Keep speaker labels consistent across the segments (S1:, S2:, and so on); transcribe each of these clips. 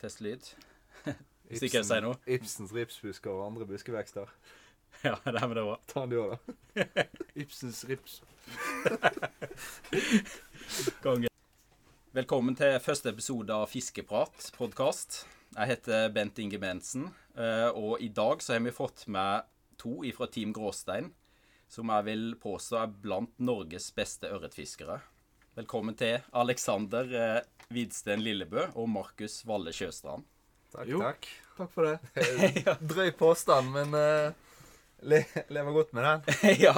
S1: Teste lyd. Hvis ikke jeg sier noe.
S2: Ibsens ripsbusker og andre buskevekster.
S1: Ja, det er med det bra.
S2: Ta den du òg, da.
S3: Ibsens rips.
S1: Konge. Velkommen til første episode av Fiskeprat podkast. Jeg heter Bent Inge Bensen, eh, og i dag så har vi fått med to fra Team Gråstein, som jeg vil påstå er blant Norges beste ørretfiskere. Velkommen til Alexander eh, Vidsten Lillebø og Markus Valle Sjøstrand.
S2: Takk,
S3: Jo.
S2: takk.
S3: Takk for det. Drøy påstand, men eh,
S2: Le lever godt med den.
S1: ja,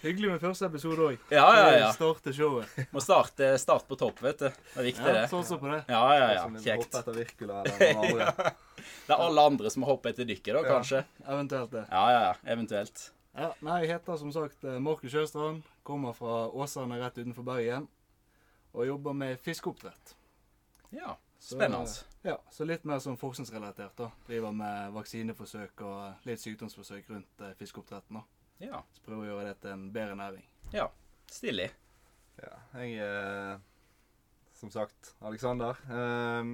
S3: hyggelig med første episode òg.
S1: ja, ja. ja.
S3: Starte showet.
S1: Må starte start på topp, vet du. Det er viktig,
S3: Ja,
S1: det.
S3: sånn som på det.
S1: Ja, ja, ja.
S2: Som en
S1: Kjekt.
S2: hopp etter Virkula eller noen andre.
S1: Det er alle andre som hopper etter dykket, da,
S2: Ja.
S1: kanskje.
S3: Eventuelt det.
S1: Ja, ja, ja. Eventuelt.
S3: Ja, nei, jeg heter som sagt eh, Markus Sjøstrand. Kommer fra Åsane rett utenfor Bergen. Og jobber med fiskeoppdrett.
S1: Ja.
S3: Så-
S1: Spennende. altså.
S3: Ja, så litt mer sånn forskningsrelatert, da. Driver med vaksineforsøk og litt sykdomsforsøk rundt eh, fiskeoppdretten. da.
S1: Ja.
S3: Så prøver å gjøre det til en bedre næring.
S1: Ja. Stilig.
S2: Ja, jeg er som sagt Alexander. Eh,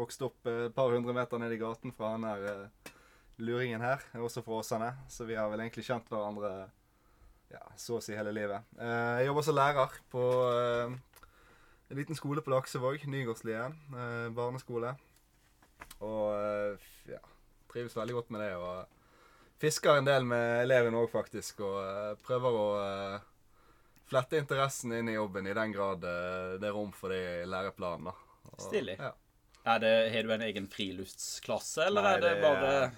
S2: vokste opp eh, et par hundre meter ned i gaten fra han her eh, luringen her, også fra Åsane. Så vi har vel egentlig kjent hverandre ja, så å si hele livet. Eh, jeg jobber som lærer på eh, en liten skole på Laksevåg, Nygårdslien. Eh, barneskole. Og eh, f- ja, trives veldig godt med det. og Fisker en del med elevene òg, faktisk, og eh, prøver å eh, flette interessen inn i jobben i den grad eh, det er rom for det i læreplanen. da. Og-
S1: Stilig.
S2: Ja.
S1: Er det, har du en egen friluftsklasse, eller
S2: Nei,
S1: er det
S2: det
S1: bare
S2: er-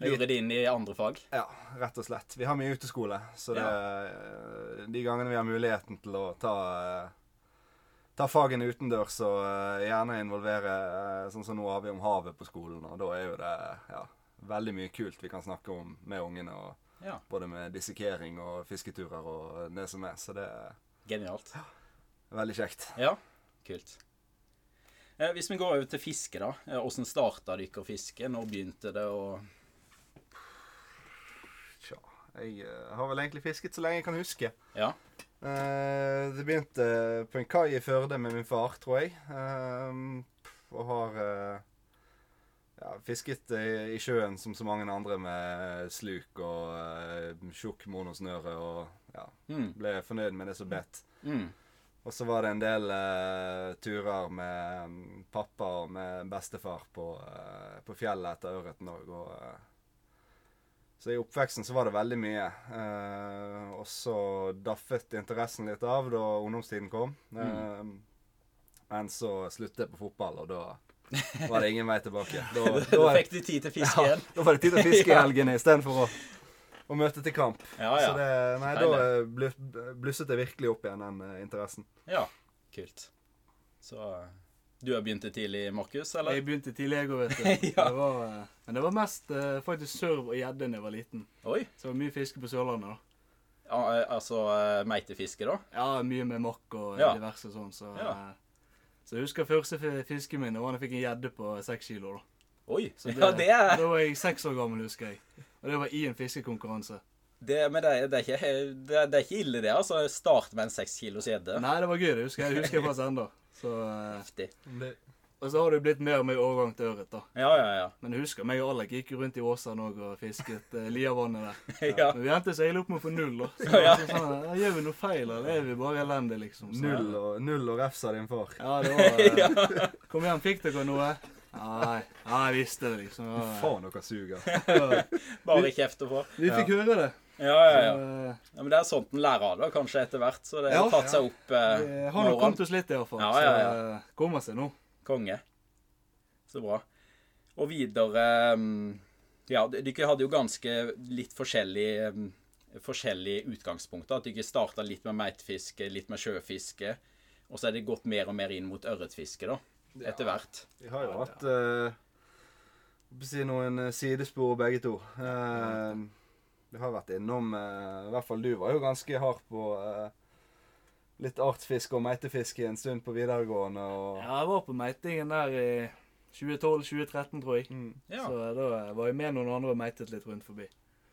S1: lure det inn i andre fag?
S2: ja, rett og slett. Vi har mye uteskole, så det, eh, de gangene vi har muligheten til å ta eh, Ta fagene utendørs og eh, gjerne involvere eh, Sånn som nå har vi om havet på skolen, og da er jo det ja, veldig mye kult vi kan snakke om med ungene. Og
S1: Ja,
S2: både med dissekering og fisketurer og det som er. Så det er
S1: genialt.
S2: veldig kjekt.
S1: Ja, kult. Eh, Hvis vi går over til fiske, da. eh, Hvordan starta dere å fiske? Når begynte det å
S2: Tja, jeg eh, har vel egentlig fisket så lenge jeg kan huske.
S1: Ja.
S2: Eh, det begynte på en kai i Førde med min far, tror jeg. Eh, og har eh, ja, fisket eh, i sjøen som så mange andre med sluk og eh, tjukk monosnøre. Og ja,
S1: Mm,
S2: ble fornøyd med det som bet.
S1: mm,
S2: Og så var det en del eh, turer med mm, pappa og med bestefar på, eh, på fjellet etter ørreten òg. Og, eh, så i oppveksten så var det veldig mye. Eh, og så daffet interessen litt av da ungdomstiden kom.
S1: Mm.
S2: Eh, Men så sluttet jeg på fotball, og da var det ingen vei tilbake. Da,
S1: Da
S2: da,
S1: fikk de tid til fiske igjen.
S2: da var det tid til å fiske i helgene istedenfor å, å møte til kamp.
S1: Ah, Ja,
S2: Så
S1: ja.
S2: det, nei, da eh, blu- blusset det virkelig opp igjen, den eh, interessen.
S1: ja. Kult. Så eh, du har begynt det tidlig, Markus, eller?
S3: Jeg begynte tidlig, jeg òg, vet du.
S1: Ja.
S3: det var, eh, men det var mest eh, faktisk sørv og gjedde da jeg var liten.
S1: Oi.
S3: Så det var mye fiske på Sørlandet. da.
S1: Ja, eh, Altså eh, meitefiske, da?
S3: Ja, Mye med makk og eh,
S1: Ja.
S3: diverse sånn. Så,
S1: Ja.
S3: eh, så jeg husker første fi- fisken min. Det var da jeg fikk en gjedde på seks kilo. da.
S1: Oi.
S3: Så
S1: Ja, det er
S3: Da var jeg seks år gammel, husker jeg. Og det var i en fiskekonkurranse.
S1: Det, men det, er- det, er ikke, he- det, er- det er ikke ille, det. altså. Start med en seks kilos gjedde.
S3: Nei, det var gøy. Det husker jeg, husker jeg faktisk ennå. Eh,
S1: Heftig.
S3: og så har det jo blitt mer og mer overgang til ørret. da.
S1: Ja, ja, ja.
S3: Men jeg husker meg og Alek gikk jo rundt i åsene òg og fisket eh, liavannet der.
S1: ja.
S3: Men vi endte så ille opp med å få null, da. Så det var sånn, sånn, ja, gjør vi noe feil, eller er vi bare elendige, liksom? Så,
S2: Null og, null og refs av din far.
S3: Ja, det var eh, Kom igjen, fikk dere noe? Nei, ja, jeg visste det, liksom. Ja,
S2: Faen, dere suger.
S3: ja.
S1: Bare kjeft å få.
S3: Vi fikk høre det.
S1: Ja, ja, ja.
S3: Så, eh,
S1: ja. Men det er sånt en lærer av, da, kanskje, etter hvert. Så det
S3: Ja.
S1: har tatt seg opp. Eh,
S3: Det har nå
S1: med årene.
S3: kommet oss litt, iallfall.
S1: Ja, ja, ja.
S3: Så eh, kommer seg nå.
S1: Konge. Så bra. Og videre mm, Ja, d- dere hadde jo ganske litt forskjellig mm, forskjellig utgangspunkt. da. At dere starta litt med meitefiske, litt med sjøfiske. Og så er det gått mer og mer inn mot ørretfiske, da. Etter hvert.
S2: Vi har jo hatt eh, hva skal jeg si, noen eh, sidespor begge to. Eh, vi har vært innom eh, I hvert fall du var jo ganske hard på eh, litt artsfiske og meitefiske en stund på videregående. Og,
S3: Ja, jeg var på meitingen der i 2012-2013, tror jeg.
S2: Mm.
S1: Ja.
S3: eh, Så eh, da var jeg med noen andre og meitet litt rundt forbi.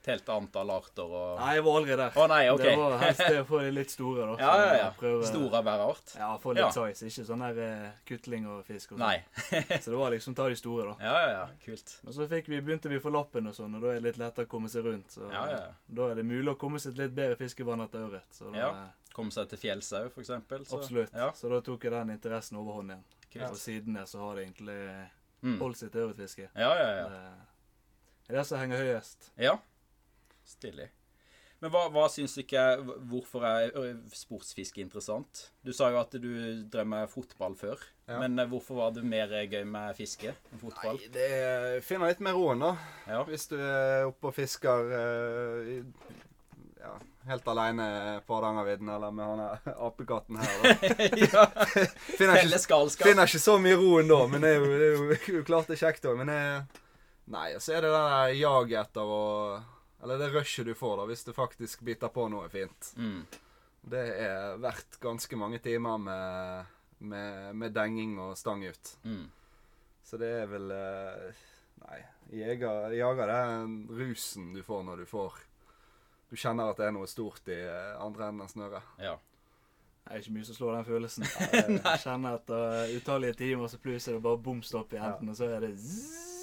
S1: Telt antall arter og
S3: Nei, jeg var aldri der.
S1: Å nei, OK.
S3: Det var helst det å få de litt store, da.
S1: Ja, ja, ja.
S3: så prøve-
S1: Store av hver art.
S3: Ja, få litt
S1: Ja.
S3: size. Ikke sånn der eh, kutling og fisk og sånn.
S1: Nei.
S3: Så det var liksom ta de store, da.
S1: Ja, ja, ja. Kult.
S3: Men så fikk vi, begynte vi å få lappen og sånn, og da er det litt lettere å komme seg rundt. Så eh,
S1: Ja, ja.
S3: da er det mulig å komme seg til litt bedre fiskevann etter ørret. Så da, eh,
S1: Ja, Komme seg til fjells òg, for eksempel. Så.
S3: absolutt.
S1: Ja,
S3: Så da tok jeg den interessen overhånd igjen.
S1: kult.
S3: Og siden der så har det egentlig
S1: Mm.
S3: holdt sitt ørretfiske.
S1: Ja, ja, ja.
S3: Det er det som henger høyest.
S1: Ja. Stilig. Men hva, hva syns du ikke Hvorfor er ø, sportsfiske interessant? Du sa jo at du drev med fotball før.
S2: Ja.
S1: Men ø, hvorfor var det mer gøy med fiske enn fotball?
S2: Nei, det er- finner litt mer roen, da.
S1: Ja.
S2: Hvis du er oppe og fisker eh, i, ja, helt aleine på Hardangervidda eller med han her apekatten her. Da.
S1: ja.
S2: Finner, ikke,
S1: Felles galskap.
S2: finner ikke så mye roen da, men det er jo, det er jo, det er jo klart det er kjekt òg. Men det, nei, og så er det det der jaget etter å Eller det rushet du får da, hvis du faktisk biter på noe fint.
S1: Mm.
S2: Det er verdt ganske mange timer med, med, med denging og stang ut.
S1: Mm.
S2: Så det er vel eh, Nei. Jeger, jager det er den rusen du får når du får Du kjenner at det er noe stort i eh, andre enden av snøret.
S1: Ja.
S3: Det er ikke mye som slår den følelsen.
S2: det-
S3: Jeg kjenner etter utallige timer, så plutselig er det bare bom stopp i enden, og så er det
S2: Den
S3: zzz.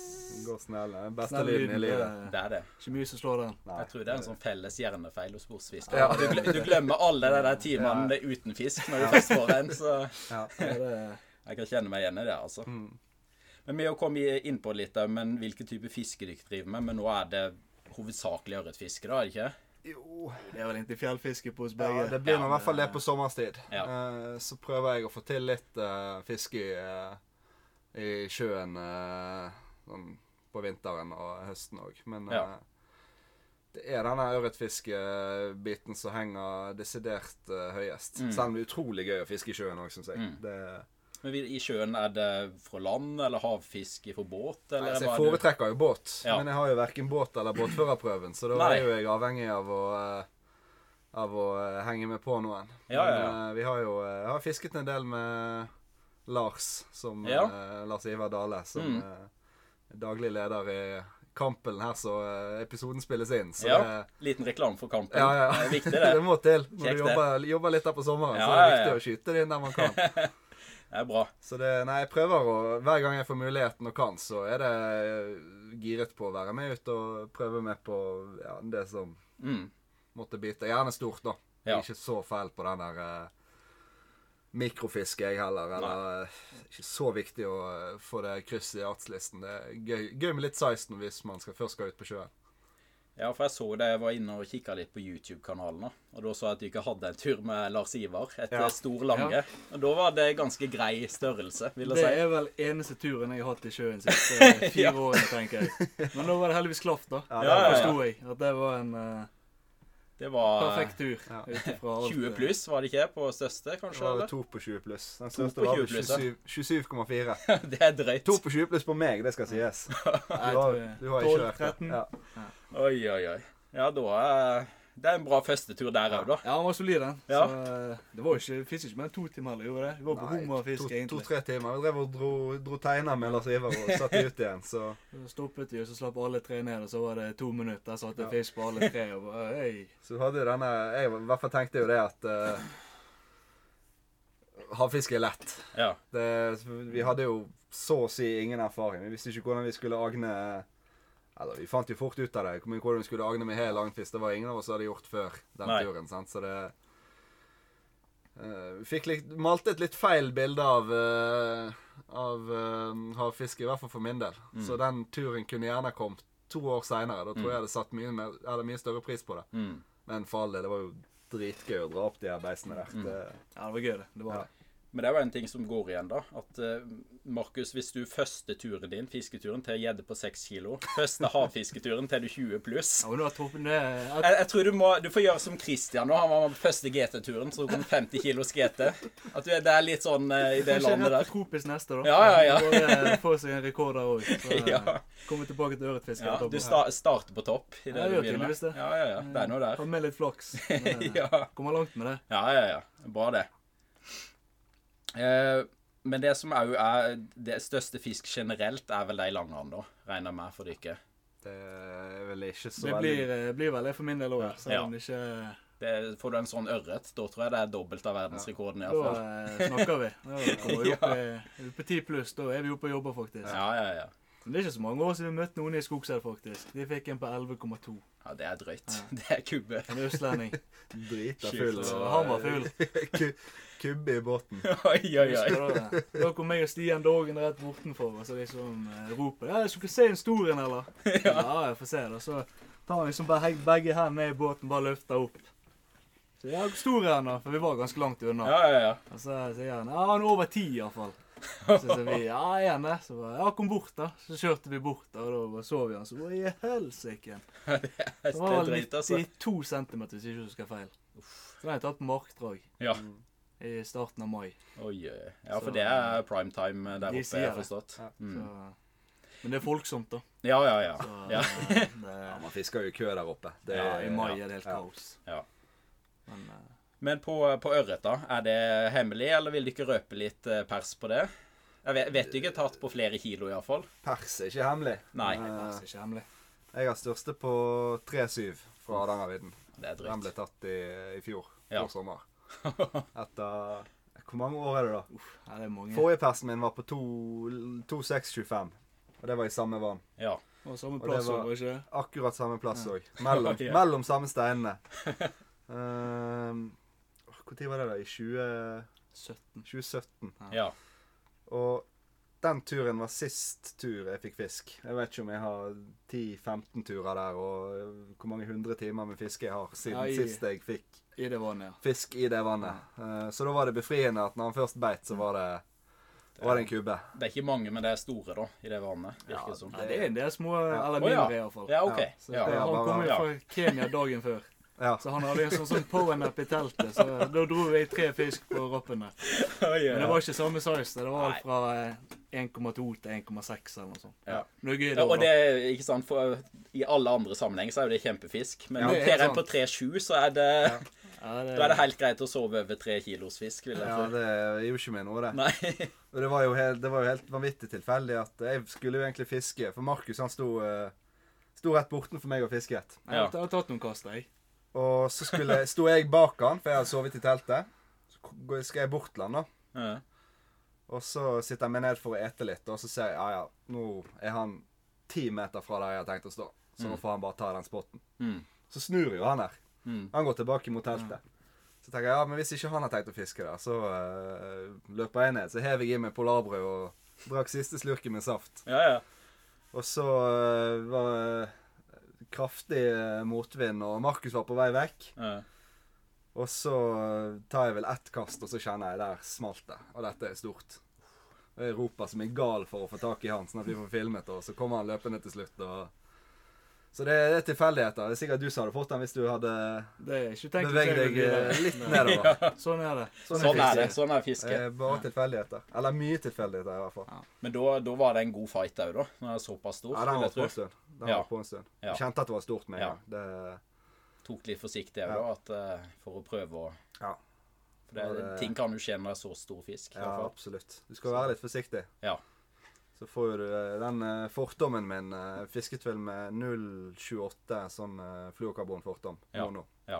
S2: Går snell. Den beste
S3: Snell
S2: lyden i
S3: lyd,
S2: livet.
S1: Det er det.
S3: eh, Ikke mye som slår den.
S2: Nei.
S1: Jeg tror det er en sånn felles hjernefeil hos sportsfiskere.
S2: Ja.
S1: Du, gle- du glemmer alle de der timene det er uten fisk når du først får en, så
S2: Ja.
S3: Det er det-
S1: jeg kan kjenne meg igjen i det, altså.
S2: Mm.
S1: Men Vi har kommet inn på litt der, men hvilken type fiske dere driver med. Men nå er det hovedsakelig ørretfiske, da, er det ikke?
S2: Jo
S3: Det er vel egentlig fjellfiske på oss
S2: ja,
S3: begge.
S2: Det blir nå
S1: Ja, eh,
S2: i hvert fall det på sommerstid.
S1: Ja.
S2: Eh, så prøver jeg å få til litt eh, fiske i, eh, i sjøen eh, sånn på vinteren og høsten òg. Men eh,
S1: Ja.
S2: det er denne ørretfiskebiten som henger desidert eh, høyest.
S1: Mm.
S2: Selv om det er utrolig gøy å fiske i sjøen òg, syns jeg.
S1: Mm.
S2: Det,
S1: Men vi- I sjøen, er det fra land eller havfiske fra båt? Eller
S2: altså,
S1: hva
S2: jeg
S1: er det du-
S2: foretrekker jo båt,
S1: Ja.
S2: men jeg har jo verken båt eller båtførerprøven, så da
S1: Nei.
S2: er jo jeg avhengig av å eh, av å eh, henge med på noen.
S1: Ja,
S2: Men,
S1: ja, ja.
S2: eh, vi har jo eh, Jeg har fisket en del med Lars, som
S1: Ja.
S2: eh, Lars Ivar Dale, som
S1: Mm.
S2: eh, er daglig leder i Kampen her, så eh, episoden spilles inn. Så
S1: Ja, liten reklame for kampen.
S2: Ja, ja.
S1: Det er viktig,
S2: det,
S1: det.
S2: det må til. Når
S1: Kjekt,
S2: du jobber, jobber litt der på sommeren,
S1: Ja,
S2: så er
S1: ja,
S2: det
S1: ja.
S2: viktig å skyte det inn der man kan.
S1: Det er bra.
S2: Så det, nei, jeg prøver å Hver gang jeg får muligheten og kan, så er det eh, giret på å være med ut og prøve med på ja, det som
S1: Mm.
S2: måtte bite. Gjerne stort, da. Jeg
S1: Ja.
S2: er Ikke så fæl på den der eh, mikrofiske, jeg heller. Eller eh, ikke så viktig å eh, få det krysset i artslisten. Det er gøy, gøy med litt sizen hvis man skal, først skal ut på sjøen.
S1: Ja, for jeg så det, jeg var inne og kikka litt på YouTube-kanalen, da. og da så jeg at dere hadde en tur med Lars Ivar etter
S2: Ja.
S1: Stor Lange.
S3: Ja.
S1: Og da var det ganske grei størrelse, vil jeg
S3: Det
S1: si.
S3: er vel eneste turen jeg har hatt i sjøen de siste fire årene, tenker jeg. Men nå var det heldigvis klaff, da.
S2: Ja,
S1: det Ja,
S3: Da
S1: ja, ja.
S3: forsto jeg at det var en eh,
S1: Det var
S3: perfekt tur.
S2: Ja.
S3: Ut ifra alt. uh,
S1: 20 pluss, var det ikke? På største,
S2: Det
S1: kanskje?
S2: var
S1: eller?
S2: det to på 20 pluss. Den
S1: To
S2: største
S1: på
S2: var vel
S1: 20 pluss, ja.
S2: 27 27,4.
S1: Det er drøyt.
S2: To på 20 pluss på meg, det skal sies. Du
S3: Nei, jeg
S2: har,
S3: tror jeg-
S2: du har ikke
S3: 12,
S2: hørt det.
S3: 13.
S2: Ja.
S1: Oi, oi, oi. Ja, da er Det er en bra førstetur der òg, da.
S3: Ja, han var solid, den.
S1: Ja.
S3: Så eh, det var jo ikke fisk ikke mer enn to timer heller, gjorde det? Vi var på
S2: Nei,
S3: hummerfiske,
S2: to-
S3: egentlig.
S2: To-tre timer. Vi drev og dro, dro teiner med Lars Ivar og satte de ut igjen, så
S3: Så stoppet de, og så slapp alle tre ned, og så var det to minutter. Der satt det
S2: Ja.
S3: fisk på alle tre, og bare Hei.
S2: Så du hadde jo denne Jeg i hvert fall tenkte jo det at uh, Havfiske er lett.
S1: Ja.
S2: Det, vi hadde jo så å si ingen erfaring. Vi visste ikke hvordan vi skulle agne Eller vi fant jo fort ut av det, men hvordan vi skulle agne med hel langfisk. Det var ingen av oss som hadde gjort før den
S1: Nei.
S2: turen. sant? Så det eh, Vi fikk litt, malte et litt feil bilde av, eh, av eh, havfiske, i hvert fall for min del. Så den turen kunne gjerne kommet to år seinere. Da tror jeg jeg hadde satt mye, mer, eller mye større pris på det.
S1: Mm.
S2: Men for all del, det var jo dritgøy å dra opp de her beistene der. Det,
S3: Ja, det var gøy, det. Det var
S2: Ja.
S3: det.
S1: Men det er jo en ting som går igjen, da. At eh, Markus, hvis du første turen din, fisketuren, til gjedde på 6 kilo Første havfisketuren til du 20 pluss.
S3: Ja, men nå har troppen det at,
S1: Jeg, jeg tror du må Du får gjøre som Christian nå. Han var med på første GT-turen, så kom 50 kilos GT. At du er, det er litt sånn eh, i det
S3: Kanskje
S1: landet
S3: helt
S1: der.
S3: tropisk neste, da.
S1: Ja, ja, ja.
S3: Bare få seg en rekord der òg.
S1: Ja.
S3: Komme tilbake til ørretfiske.
S1: Ja,
S3: etterpå.
S1: du sta starter på topp. I det
S3: Ja,
S1: du
S3: det gjør
S1: begynner med.
S3: tydeligvis det.
S1: Ja, ja, ja. Det er noe der.
S3: Ha med litt flaks. men, eh,
S1: Ja.
S3: Kommer langt med det.
S1: Ja, ja, ja. Bra det. Eh, men det som òg er det største fisk generelt, er vel de langene, da. Regner jeg med for dere.
S2: Det er vel ikke så
S3: Det
S2: veldig
S3: blir, eh, blir vel det for min del òg, selv om det ikke
S1: Det, får du en sånn ørret, da tror jeg det er dobbelt av verdensrekorden. i hvert
S3: Da
S1: fall.
S3: eh, snakker vi. Da kommer vi opp i, på 10 pluss. Da er vi oppe og jobber, faktisk.
S1: Ja, ja, ja.
S3: Men det er ikke så mange år siden vi møtte noen i Skogsel, faktisk. De fikk en på 11,2.
S1: ja det er drøyt. Det er kubbe.
S3: En østlending.
S2: drita
S1: Sjukt,
S2: full.
S1: altså.
S3: Så han var full.
S2: Ku- Kubbe i båten.
S1: Oi, oi, oi.
S3: Husker du det? Da kom jeg og Stian Dogen rett bortenfor, og så liksom eh, roper Ja, 'Skal vi se historien, eller?' Ja, jeg får se, da. Så tar han liksom bare heg- begge hendene i båten, bare løfter opp. Så ja, hvor stor er han, da? For vi var ganske langt unna.
S1: Ja, ja, ja.
S3: Og så sier han ja, han er over ti iallfall. Så sier vi ja, er han det? Så bare, ja, kom bort, da. Så kjørte vi bort, da, og da bare så vi han. Så bare, i helsike.
S1: Det
S3: Det var
S1: er
S3: vel
S1: drøyt, altså.
S3: 92 cm, hvis jeg ikke husker feil. Så den har jeg tatt på markdrag
S1: Ja.
S3: i starten av mai.
S1: Oi, oi. oi. Ja, for det er prime time eh, der
S3: De
S1: oppe,
S3: sier
S1: jeg har
S3: det.
S1: forstått.
S2: Ja.
S1: Mm.
S3: Så, men det er folksomt, da.
S1: Ja, ja, ja.
S3: Så,
S1: ja.
S3: eh,
S2: Ja,
S3: det,
S2: man fisker jo i kø der oppe. Det
S1: Ja,
S2: er,
S3: I mai er det helt
S2: Ja.
S3: kaos.
S1: Ja.
S3: Men eh,
S1: Men på, på ørret, da? Er det hemmelig, eller vil dere røpe litt eh, pers på det? Jeg vet, vet du ikke tatt på flere kilo, iallfall.
S2: Pers er ikke hemmelig.
S1: Nei.
S3: det
S2: Eh,
S3: er ikke hemmelig.
S2: Jeg har største på 3-7 fra Hardangervidda.
S1: Det er
S2: Den ble
S1: drøyt.
S2: tatt i, i fjor,
S1: Ja.
S2: ja. sommer. Etter Hvor mange år er det, da?
S3: Ja, det er mange.
S2: Forrige persen min var på to- 2,625. Og det var i samme vann.
S1: Ja.
S3: Og samme
S2: det
S3: plass
S2: var-
S3: over, ikke det?
S2: Akkurat samme plass òg. Mellom,
S1: Ja.
S2: mellom samme steinene. Um, Når var det, da? I 20,
S3: 17.
S2: 2017.
S1: ja.
S2: Og den turen var sist tur jeg fikk fisk. Jeg vet ikke om jeg har 10-15 turer der, og øh, hvor mange hundre timer med fiske jeg har siden
S3: Ai.
S2: sist jeg fikk
S3: I det vannet, ja.
S2: fisk i det vannet. Eh, Så da var det befriende at når han først beit, så var det, var det en kubbe.
S1: Det er ikke mange, men det er store, da, i det vannet, virker det som.
S3: Ja, det er en del små, eller
S1: Å, ja.
S3: mindre, iallfall.
S1: Ja, OK.
S2: Ja, så
S1: Ja.
S2: det er-
S3: han
S2: bare-
S3: kom jo
S1: ja.
S3: fra Kenya dagen før,
S2: Ja.
S3: så han hadde en sånn, sånn powernap i teltet. Så da dro vi tre fisk på rappen der.
S1: Oi, oi,
S3: Men
S1: oi.
S3: det var ikke samme size. Det var alt fra eh, 1,2 til 1,6 eller noe sånt.
S1: Ja.
S3: Men det er gøy,
S1: Ja,
S3: det,
S1: og
S3: var-
S1: det er ikke sant, for eh, I alle andre sammenhenger så er jo det kjempefisk, men
S3: Ja,
S1: når
S3: det er
S1: Per er
S3: sant.
S1: på 3,7, så er det,
S3: ja, det,
S1: da er det helt greit å sove over 3 kilos fisk. vil jeg
S2: ja,
S1: tro.
S2: det gjorde ikke meg noe, det.
S1: Nei.
S2: Og det var jo helt, det var jo helt vanvittig tilfeldig at jeg skulle jo egentlig fiske, for Markus han sto, eh, sto rett bortenfor meg og fisket.
S3: Nei, Jeg har tatt noen kast, jeg.
S2: Og så skulle, sto jeg bak han, for jeg hadde sovet i teltet. Så k- går- skal jeg bort til han, da.
S1: Ja.
S2: Og så sitter jeg meg ned for å ete litt, og så ser jeg ja, ja, nå er han ti meter fra der jeg har tenkt å stå. Så nå får han bare ta den spotten.
S1: Mm.
S2: Så snur jo han her.
S1: Mm.
S2: Han går tilbake mot teltet. Så tenker jeg ja, men hvis ikke han har tenkt å fiske der, så eh, løper jeg ned. Så hever jeg i meg polarbrød og drakk siste slurken med saft.
S1: Ja, ja.
S2: Og så eh, var det kraftig eh, motvind, og Markus var på vei vekk.
S1: Ja.
S2: Og så tar jeg vel ett kast, og så kjenner jeg der smalt det. Og dette er stort. Og Jeg roper som en gal for å få tak i han, sånn at vi får filmet, og så kommer han løpende til slutt. og... Så det er, det er tilfeldigheter. Det er sikkert du som hadde fått den hvis du hadde
S3: Det er ikke tenkt å
S2: beveget deg eh, litt nedover.
S3: Ja. Sånn er det.
S1: Sånn er det.
S2: fiske.
S1: Sånn er fiske.
S2: Det er Eh, bare tilfeldigheter. Eller mye tilfeldigheter, i hvert fall.
S1: Men da, da var det en god fight òg, da. Når den er såpass stor.
S2: Ja, den
S1: vil
S2: var
S1: jeg
S2: på en
S1: tro.
S2: stund. Den
S1: Ja.
S2: var på en stund.
S1: Ja.
S2: Jeg kjente at det var stort med en gang. Det-
S1: Tok litt forsiktig òg, da. At, eh, for å prøve å
S2: Ja.
S1: for det,
S2: Og det-
S1: Ting kan jo skje når det er så stor fisk. i
S2: Ja,
S1: hvert fall.
S2: absolutt. Du skal være litt forsiktig.
S1: Ja.
S2: Så får jo du eh, den eh, fortommen min eh, fisket vel med 0,28 sånn eh, fluorkarbonfortom.
S1: Ja,
S2: mono.
S1: ja.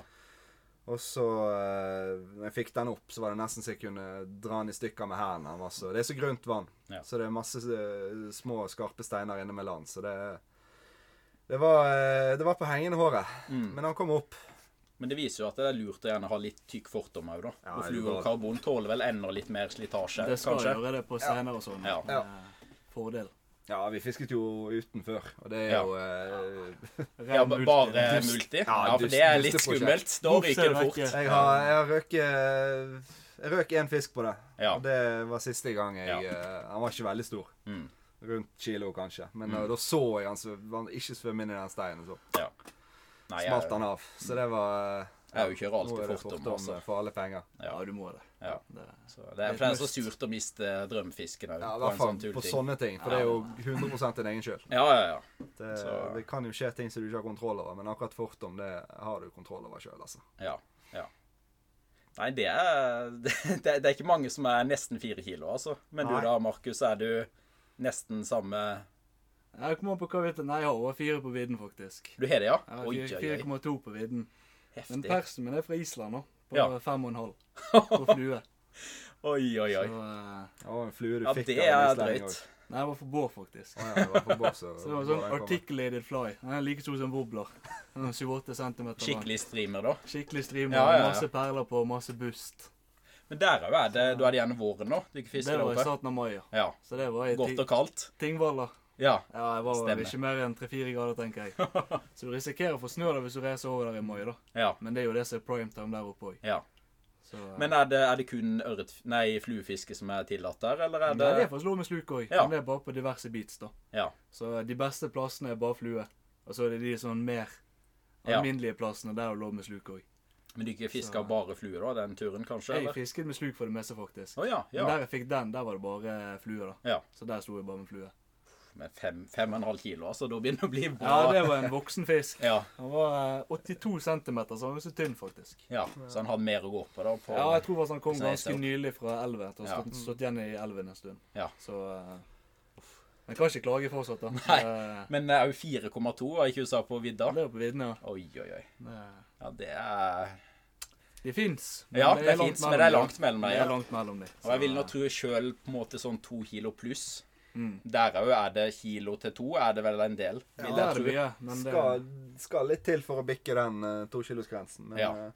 S2: Og så eh, Når jeg fikk den opp, så var det nesten så jeg kunne dra den i stykker med hælen. Han var så- Det er så grunt vann,
S1: Ja.
S2: så det er masse eh, små, skarpe steiner inne med land. Så det det var, eh, det var på hengende håret,
S1: Mm.
S2: men han kom opp.
S1: Men det viser jo at det er lurt å gjerne ha litt tykk fortom òg, da.
S2: Ja,
S1: og
S2: det går.
S1: fluorkarbon tåler vel enda litt mer slitasje,
S3: Det skal
S1: kanskje.
S3: gjøre det på steiner og sånn.
S1: Ja.
S2: Ja.
S3: Eh, Fordel.
S2: Ja, vi fisket jo utenfor, og det er
S1: Ja.
S2: jo eh,
S1: Ja, ba- bare
S3: Dust.
S1: multi? Ja,
S2: Ja,
S1: for
S2: dust-
S1: det er litt
S2: dusteprosjekt.
S1: skummelt. Da
S3: Uff,
S1: ryker
S3: ser du
S1: det fort.
S3: ikke.
S2: Jeg har, jeg har røket eh, Jeg røk én fisk på det.
S1: Ja.
S2: Og Det var siste gang jeg
S1: Ja.
S2: eh, Han var ikke veldig stor.
S1: Mm.
S2: Rundt kilo, kanskje. Men eh, da så jeg han, så han ikke svømme inn i den steinen. Så
S1: ja. Nei, jeg,
S2: smalt han av. Så det var eh,
S1: jeg har jo kjører
S2: Nå
S1: alltid
S2: er det
S1: fortom.
S2: fortom
S1: altså.
S2: eh, for alle penger.
S3: Ja, du må det.
S1: Ja.
S3: det.
S1: Så det er, for det er så surt å miste drømmefisken òg.
S2: Ja, I hvert
S1: sånn
S2: fall på sånne ting. For det er jo 100 din egen skyld.
S1: Ja, ja, ja.
S2: Det,
S1: Så-
S2: det kan jo skje ting som du ikke har kontroll over, men akkurat fortom det har du kontroll over sjøl, altså.
S1: Ja. ja. Nei, det er, det, det er ikke mange som er nesten fire kilo, altså. Men
S2: Nei.
S1: du da, Markus, er du nesten samme
S3: Jeg kommer på hva vet jeg. Nei, jeg har over fire på vidden, faktisk.
S1: Du har det, ja?
S3: Jeg har
S1: Oi,
S3: fire-
S1: oi, oi.
S3: 4,2 på vidden. Men
S1: Heftig.
S3: persen min er fra Island nå. På
S1: Ja.
S3: fem og en halv. På flue.
S1: Oi, oi,
S3: Så
S1: oi.
S3: eh,
S2: Det var en flue du
S1: Ja,
S2: fikk
S1: det
S2: av
S1: er
S2: en islending
S1: drøyt.
S2: også.
S3: Nei, jeg var for Bård, faktisk.
S2: Å ja, det var for bås,
S3: Så det var sånn articulated fly. Den er like stor som wobbler. Den er 7-8 cm lang.
S1: Skikkelig streamer, da.
S3: Skikkelig streamer.
S1: Ja, ja, ja.
S3: Masse perler på, masse bust.
S1: Men der òg er det Du er det gjerne våren nå? Du ikke
S3: Det
S1: fisker
S3: var
S1: der
S3: i
S1: oppe?
S3: starten av mai, ja.
S1: Ja.
S3: Så det var i
S1: Godt
S3: ti
S1: og kaldt?
S3: Tingvaller.
S1: Ja.
S3: Ja, jeg var vel
S1: Stemmer.
S3: ikke mer enn 3-4 grader, tenker jeg. Så du risikerer å få snø der hvis du reiser over der i mai, da.
S1: Ja.
S3: Men det er jo det som er prime time der oppe òg.
S1: ja.
S3: Så eh,
S1: Men er det, er det kun ørret... Nei, fluefiske som er tillatt der, eller er
S3: Nei,
S1: eh, det
S3: det er for å slå med sluk òg.
S1: Ja.
S3: Men det er bare på diverse beats, da.
S1: Ja.
S3: Så de beste plassene er bare flue. Og så er det de sånn mer
S1: Ja.
S3: alminnelige plassene der det er lov med sluk òg.
S1: Men du ikke fisker
S3: Så-
S1: bare flue, da, den turen, kanskje?
S3: Jeg
S1: Eller?
S3: fisket med sluk for det meste, faktisk.
S1: Å ja. ja.
S3: Men der jeg fikk den, der var det bare flue, da.
S1: Ja.
S3: Så der sto jeg bare med flue.
S1: Men fem, fem og en halv kilo, altså. Da begynner det å bli bra.
S3: Ja, det var en voksen fisk.
S1: Ja,
S3: Han var eh, 82 cm, så han var ikke så tynn, faktisk.
S1: ja. Så han hadde mer å gå på, da? På,
S3: Ja, jeg tror faktisk han kom
S1: Så jeg
S3: ganske
S1: ser opp.
S3: nylig fra elven. etter å ha
S1: Ja.
S3: stått, stått igjen i elven en stund.
S1: Ja.
S3: Så eh, Men kan ikke klage fortsatt, da. Eh,
S1: Men det er jo 4,2, har ikke du sa, på vidda?
S3: det er jo på vidden, ja.
S1: Oi, oi, oi.
S3: Det-
S1: Ja, det er
S3: De fins. men
S1: Ja, det
S3: langt
S1: fins, men det er
S3: mellom
S1: langt mellom
S3: de.
S1: dem.
S3: Det
S1: Ja.
S3: er langt mellom de.
S1: Og jeg vil nå
S3: Så,
S1: tro sjøl på en måte sånn to kilo pluss.
S3: Mm.
S1: Der òg er det kilo til to, er det vel en del?
S3: eh,
S1: Vil
S3: Der er
S1: jeg
S3: det
S1: tro.
S3: mye, men det
S2: Skal, skal litt til for å bikke den eh, tokilosgrensen. Men
S1: Ja.
S2: eh,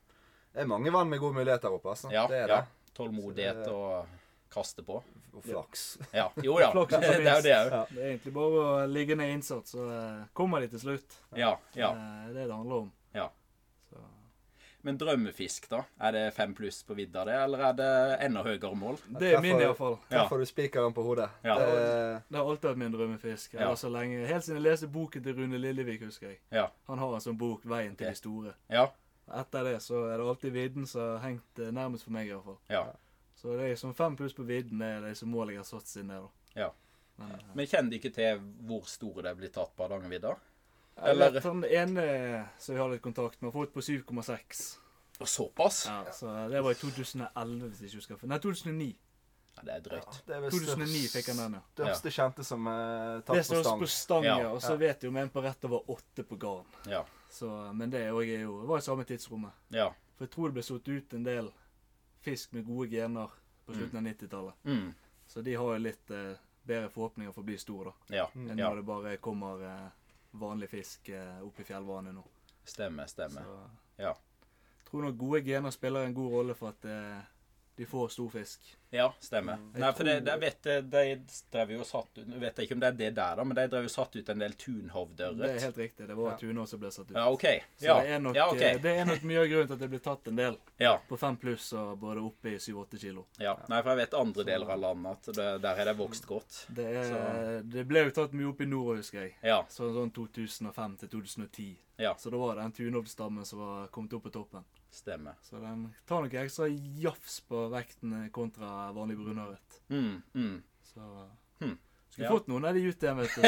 S2: det er mange vann med god mulighet der oppe. altså.
S1: Ja,
S2: det er
S1: ja.
S2: det.
S1: Tålmodighet og kaste på.
S2: Og flaks.
S1: Ja. Jo da,
S3: Flaks og
S1: det er jo det òg.
S2: Ja.
S3: Det er egentlig bare å legge ned innsats, så eh, kommer de til slutt. Eh,
S1: Ja, ja.
S3: Det er det det handler om.
S1: Ja.
S3: Så,
S1: Men drømmefisk, da? Er det fem pluss på vidda, det? Eller er det enda høyere mål?
S3: det er min,
S2: treffer-
S3: iallfall.
S1: Ja.
S2: Der får du spikeren på hodet.
S1: Ja.
S2: Det er-
S3: Det har alltid vært min drømmefisk.
S1: Ja.
S3: Eller så lenge, Helt siden jeg leste boken til Rune Lillevik, husker jeg.
S1: Ja.
S3: Han har en sånn bok, 'Veien til
S1: Ok.
S3: de store'.
S1: Ja.
S3: Etter det så er det alltid vidden som har hengt eh, nærmest for meg, i hvert fall.
S1: ja.
S3: Så det er som fem pluss på vidden det er det som målet jeg har satt siden det, da.
S1: Ja.
S3: Men, eh,
S1: Men kjenner de ikke til hvor store de blir tatt på Hardangervidda?
S3: jeg
S1: Eller-
S3: vet han ene som vi har litt kontakt med, har fått på 7,6.
S1: Og såpass?
S3: Ja, så det var i 2011, hvis jeg ikke husker feil. Nei, 2009.
S1: Ja, det er drøyt.
S2: det er vel
S3: 2009 fikk han den, ja.
S2: Største kjente som er
S3: Det
S2: tatt på
S3: står
S2: stang.
S3: på stang, ja.
S1: Ja.
S3: Og så vet jeg om en på rett over åtte på garn.
S1: Ja.
S3: Så, men det er jo- jeg er jo Det var i samme tidsrommet.
S1: ja.
S3: For jeg tror det ble satt ut en del fisk med gode gener på slutten av 90-tallet.
S1: Mm.
S3: Så de har jo litt eh, bedre forhåpninger for å bli stor, da.
S1: Ja.
S3: Enn
S1: ja.
S3: når det bare kommer eh, vanlig fisk eh, opp i fjellvannet nå.
S1: Stemmer,
S3: Så
S1: stemmer. Ja.
S3: jeg tror nok gode gener spiller en god rolle for at eh, de får stor fisk.
S1: Ja, stemmer.
S3: Jeg
S1: Nei, for det,
S3: tror-
S1: det vet, jeg- de drev jo og satt ut Nå vet jeg ikke om det er det der, da, men de drev jo og satt ut en del
S3: Det er
S1: tunhovdørret.
S3: helt riktig. Det var
S2: Ja.
S3: tunene som ble satt ut.
S1: Ja, OK.
S3: Så
S1: Ja,
S3: det, er nok,
S1: ja, ok.
S3: eh, det er nok mye av grunnen til at det blir tatt en del
S1: ja,
S3: på fem pluss og både oppe i 7-8 kilo.
S1: ja. Nei, for jeg vet andre deler av landet at det, der har det vokst godt.
S3: Det, er, det ble jo tatt mye opp i nord, husker jeg.
S1: Ja.
S3: Så, sånn 2005 til 2010.
S1: Ja.
S3: Så da var det en tunhovdstammen som var kommet opp på toppen.
S1: Stemmer.
S3: Så den tar nok ekstra jafs på vekten eh, kontra vanlig brunørret.
S1: Mm, mm.
S3: Så eh,
S1: Hmm.
S3: Skulle
S1: Ja.
S3: fått noen av de ut igjen, vet du. Så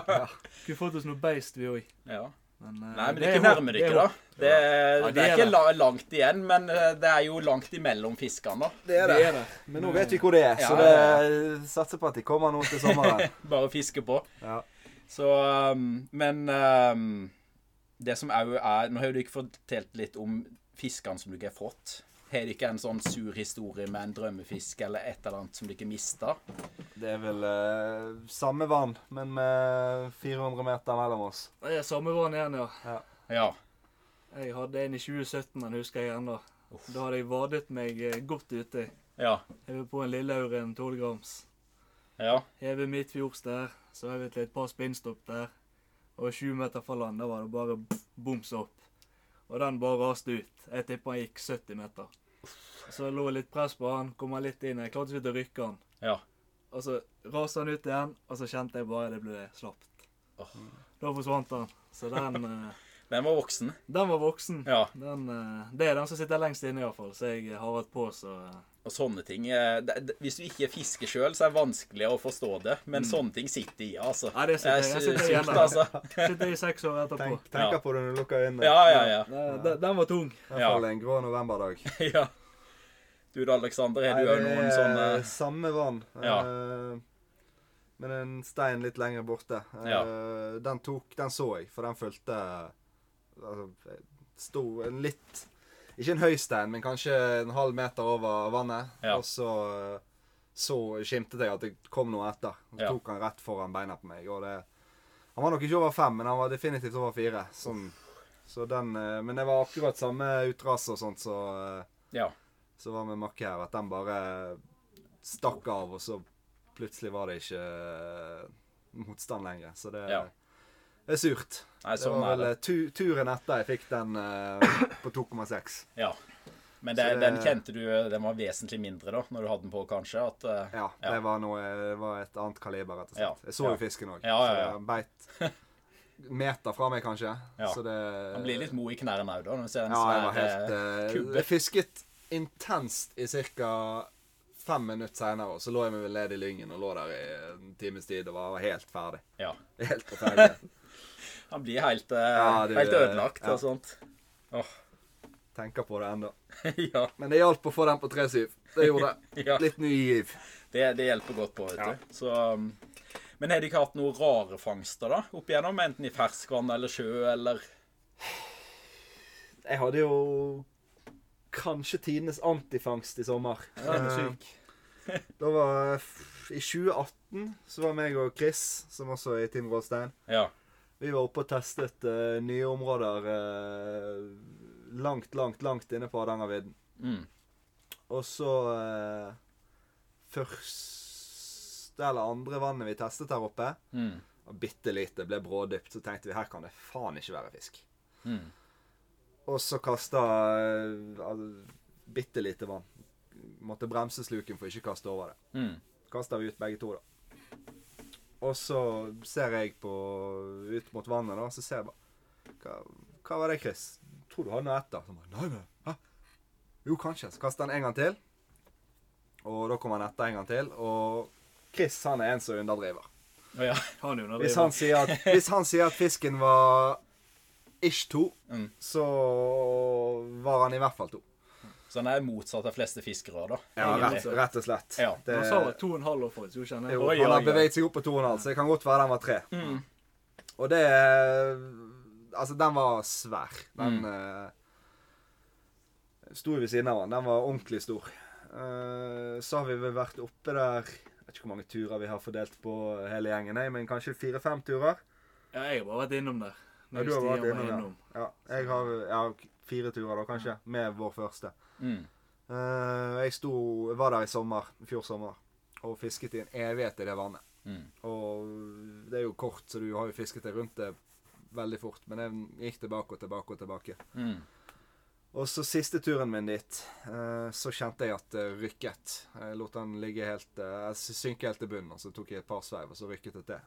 S3: eh, skulle fått oss noe beist, vi òg.
S1: Ja.
S3: Men, eh,
S1: Nei, men
S3: er
S1: det er ikke
S3: håp,
S1: nærme
S3: det er
S1: dere, da.
S3: håp.
S1: Det,
S3: Ja,
S1: er-
S3: det
S1: det er
S3: er
S1: ikke la- langt igjen, men eh, det er jo langt imellom fiskene.
S2: Det er
S3: Det
S2: det.
S3: er det.
S2: Men nå vet vi hvor det er, så
S1: Ja, ja,
S2: det eh, satser på at de kommer nå til sommeren.
S1: Bare fiske på.
S2: Ja.
S1: Så um, Men um, det som òg er Nå har du ikke fortalt litt om fiskene som du ikke har fått. Har du ikke en sånn sur historie med en drømmefisk eller et eller annet som du ikke mista?
S2: Det er vel eh, samme vann, men med 400 meter mellom oss.
S3: Det er samme vann igjen, ja.
S1: Ja.
S3: Jeg hadde en i 2017, den husker jeg ennå. Da hadde jeg vadet meg eh, godt uti.
S1: Ja.
S3: Hevet på en lillehauren 12 grams.
S1: Ja.
S3: Hevet midtfjords der. Så hevet til et par spinnstopp der. Og 20 meter fra land, da var det bare boms opp. Og den bare raste ut. Jeg tipper han gikk 70 meter. Så lå litt press på han, kom han litt inn. Jeg klarte ikke å rykke han.
S1: Ja.
S3: Og så raste han ut igjen, og så kjente jeg bare det ble slapt.
S1: Åh.
S3: Da forsvant han. Så den, eh,
S1: Den var voksen.
S3: den var voksen.
S1: Ja.
S3: Den, eh, det er den som sitter lengst inne, iallfall. Så jeg har hatt på, så eh,
S1: Og sånne ting eh, det- det- Hvis du ikke fisker sjøl, så er det vanskelig å forstå det. Men sånne ting sitter i, altså.
S3: Mm. Nei, det sitter-
S1: Det er
S3: jeg
S1: su-
S3: sitter
S1: surt,
S3: igjen der.
S1: altså.
S3: sitter jeg i seks år etterpå.
S2: Tenk, tenker
S1: Ja.
S2: på det når du lukker øynene.
S1: Ja, ja, ja.
S3: Den, den- den var tung.
S2: I hvert
S1: Ja.
S2: fall en grå novemberdag.
S1: ja. Du da, Aleksander, har du
S2: Nei,
S1: òg
S2: det
S1: noen
S2: er
S1: sånne
S2: Samme vann.
S1: Ja.
S2: Eh, Men en stein litt lenger borte. eh, Den tok, den så jeg, for den fulgte altså, sto en litt Ikke en høy stein, men kanskje en halv meter over vannet.
S1: Ja.
S2: Og så, eh, så skimtet jeg at det kom noe etter. Og så
S1: Ja.
S2: tok han rett foran beina på meg. Og det, han var nok ikke over fem, men han var definitivt over fire. Sånn, så den, eh, men det var akkurat samme utrase og sånt, så eh,
S1: Ja.
S2: så var med makke her, at den bare stakk av, og så plutselig var det ikke eh, motstand lenger. Så det
S1: Ja.
S2: er surt.
S1: Nei,
S2: Det
S1: sånn
S2: var
S1: er
S2: vel
S1: det.
S2: eh, tu turen etter jeg fikk den eh, på 2,6.
S1: Ja. Men det,
S2: Så det-
S1: den kjente du Den var vesentlig mindre da, når du hadde den på, kanskje? At, eh,
S2: Ja,
S1: Ja.
S2: det var, noe, det var et annet kaliber, rett og
S1: Ja.
S2: slett. Jeg så
S1: Ja.
S2: jo fisken òg,
S1: Ja, ja, ja.
S2: så den beit meter fra meg, kanskje.
S1: Ja.
S2: Så det
S1: han blir litt mo i knærne òg, da. Når du ser en
S2: Ja, jeg var
S1: svær eh,
S2: helt eh,
S1: kubbe.
S2: Jeg fisket intenst i ca. fem minutter seinere, og så lå jeg meg vel ned i lyngen og lå der i en times tid og var helt ferdig.
S1: Ja.
S2: Helt forferdelig.
S1: Han blir helt, eh,
S2: Ja, du,
S1: helt ødelagt
S2: ja.
S1: og sånt. Åh,
S2: Tenker på det ennå.
S1: ja,
S2: Men det hjalp å få den på 3-7. Det gjorde det.
S1: ja.
S2: Litt ny giv.
S1: Det, det hjelper godt på, vet
S2: Ja.
S1: du. Så, um, men har de ikke hatt noen rare fangster da, opp igjennom? Enten i ferskvann eller sjø eller
S2: Jeg hadde jo kanskje tidenes antifangst i sommer. Eh,
S3: Ja, den er syk.
S2: Da var f- I 2018 så var meg og Chris, som også er i Team Rådstein,
S1: Ja.
S2: vi var oppe og testet eh, nye områder eh, langt, langt, langt inne på Hardangervidda.
S1: Mm.
S2: Og så eh, Første eller andre vannet vi testet her oppe,
S1: Mm.
S2: var bitte lite, ble brådypt. Så tenkte vi her kan det faen ikke være fisk.
S1: Mm.
S2: Og så kasta bitte lite vann. Måtte bremse sluken for ikke å kaste over det.
S1: Mm.
S2: Kasta vi ut begge to, da. Og så ser jeg på ut mot vannet, da, så ser jeg bare Hva, hva var det, Chris? Tror du hadde noe etter? Så bare, nei, nei. Hæ? Jo, kanskje. Så kaster han en gang til. Og da kommer han etter en gang til. Og Chris han er en som underdriver.
S1: Å, ja.
S3: Han er jo
S2: Hvis han
S3: underdriver.
S2: sier at, hvis han sier at fisken var ish to,
S1: Mm.
S2: så var han i hvert fall to.
S1: Så han Sånn er motsatt av fleste fiskere da.
S2: Ja,
S1: egentlig.
S2: rett, rett og slett.
S1: Ja.
S2: Det,
S3: Han sa vel to og en halv år forut, gjorde ikke han det?
S2: jo,
S1: Oi,
S2: han
S1: oi,
S2: har
S1: oi.
S2: beveget seg opp på to og en halv, så det kan godt være den var tre.
S1: Mm.
S2: Og det Altså, den var svær. Den eh, sto jo ved siden av den. Den var ordentlig stor. Eh, så har vi vel vært oppe der Jeg vet ikke hvor mange turer vi har fordelt på hele gjengen, nei, men kanskje fire-fem turer.
S3: Ja, jeg har bare vært innom der.
S2: Ja, du har
S3: Stian
S2: vært
S3: var
S2: innom der. Ja, jeg har ja, fire turer da, kanskje, med vår første.
S1: Mm.
S2: Eh, jeg sto, var der i sommer, i fjor sommer, og fisket i en evighet i det vannet.
S1: Mm.
S2: Og det er jo kort, så du har jo fisket deg rundt det veldig fort, men jeg gikk tilbake og tilbake og tilbake.
S1: Mm.
S2: Og så siste turen min dit, eh, så kjente jeg at det rykket. Jeg lot den ligge helt, eh, jeg synke helt til bunnen, og så tok jeg et par sveiv, og så rykket det til.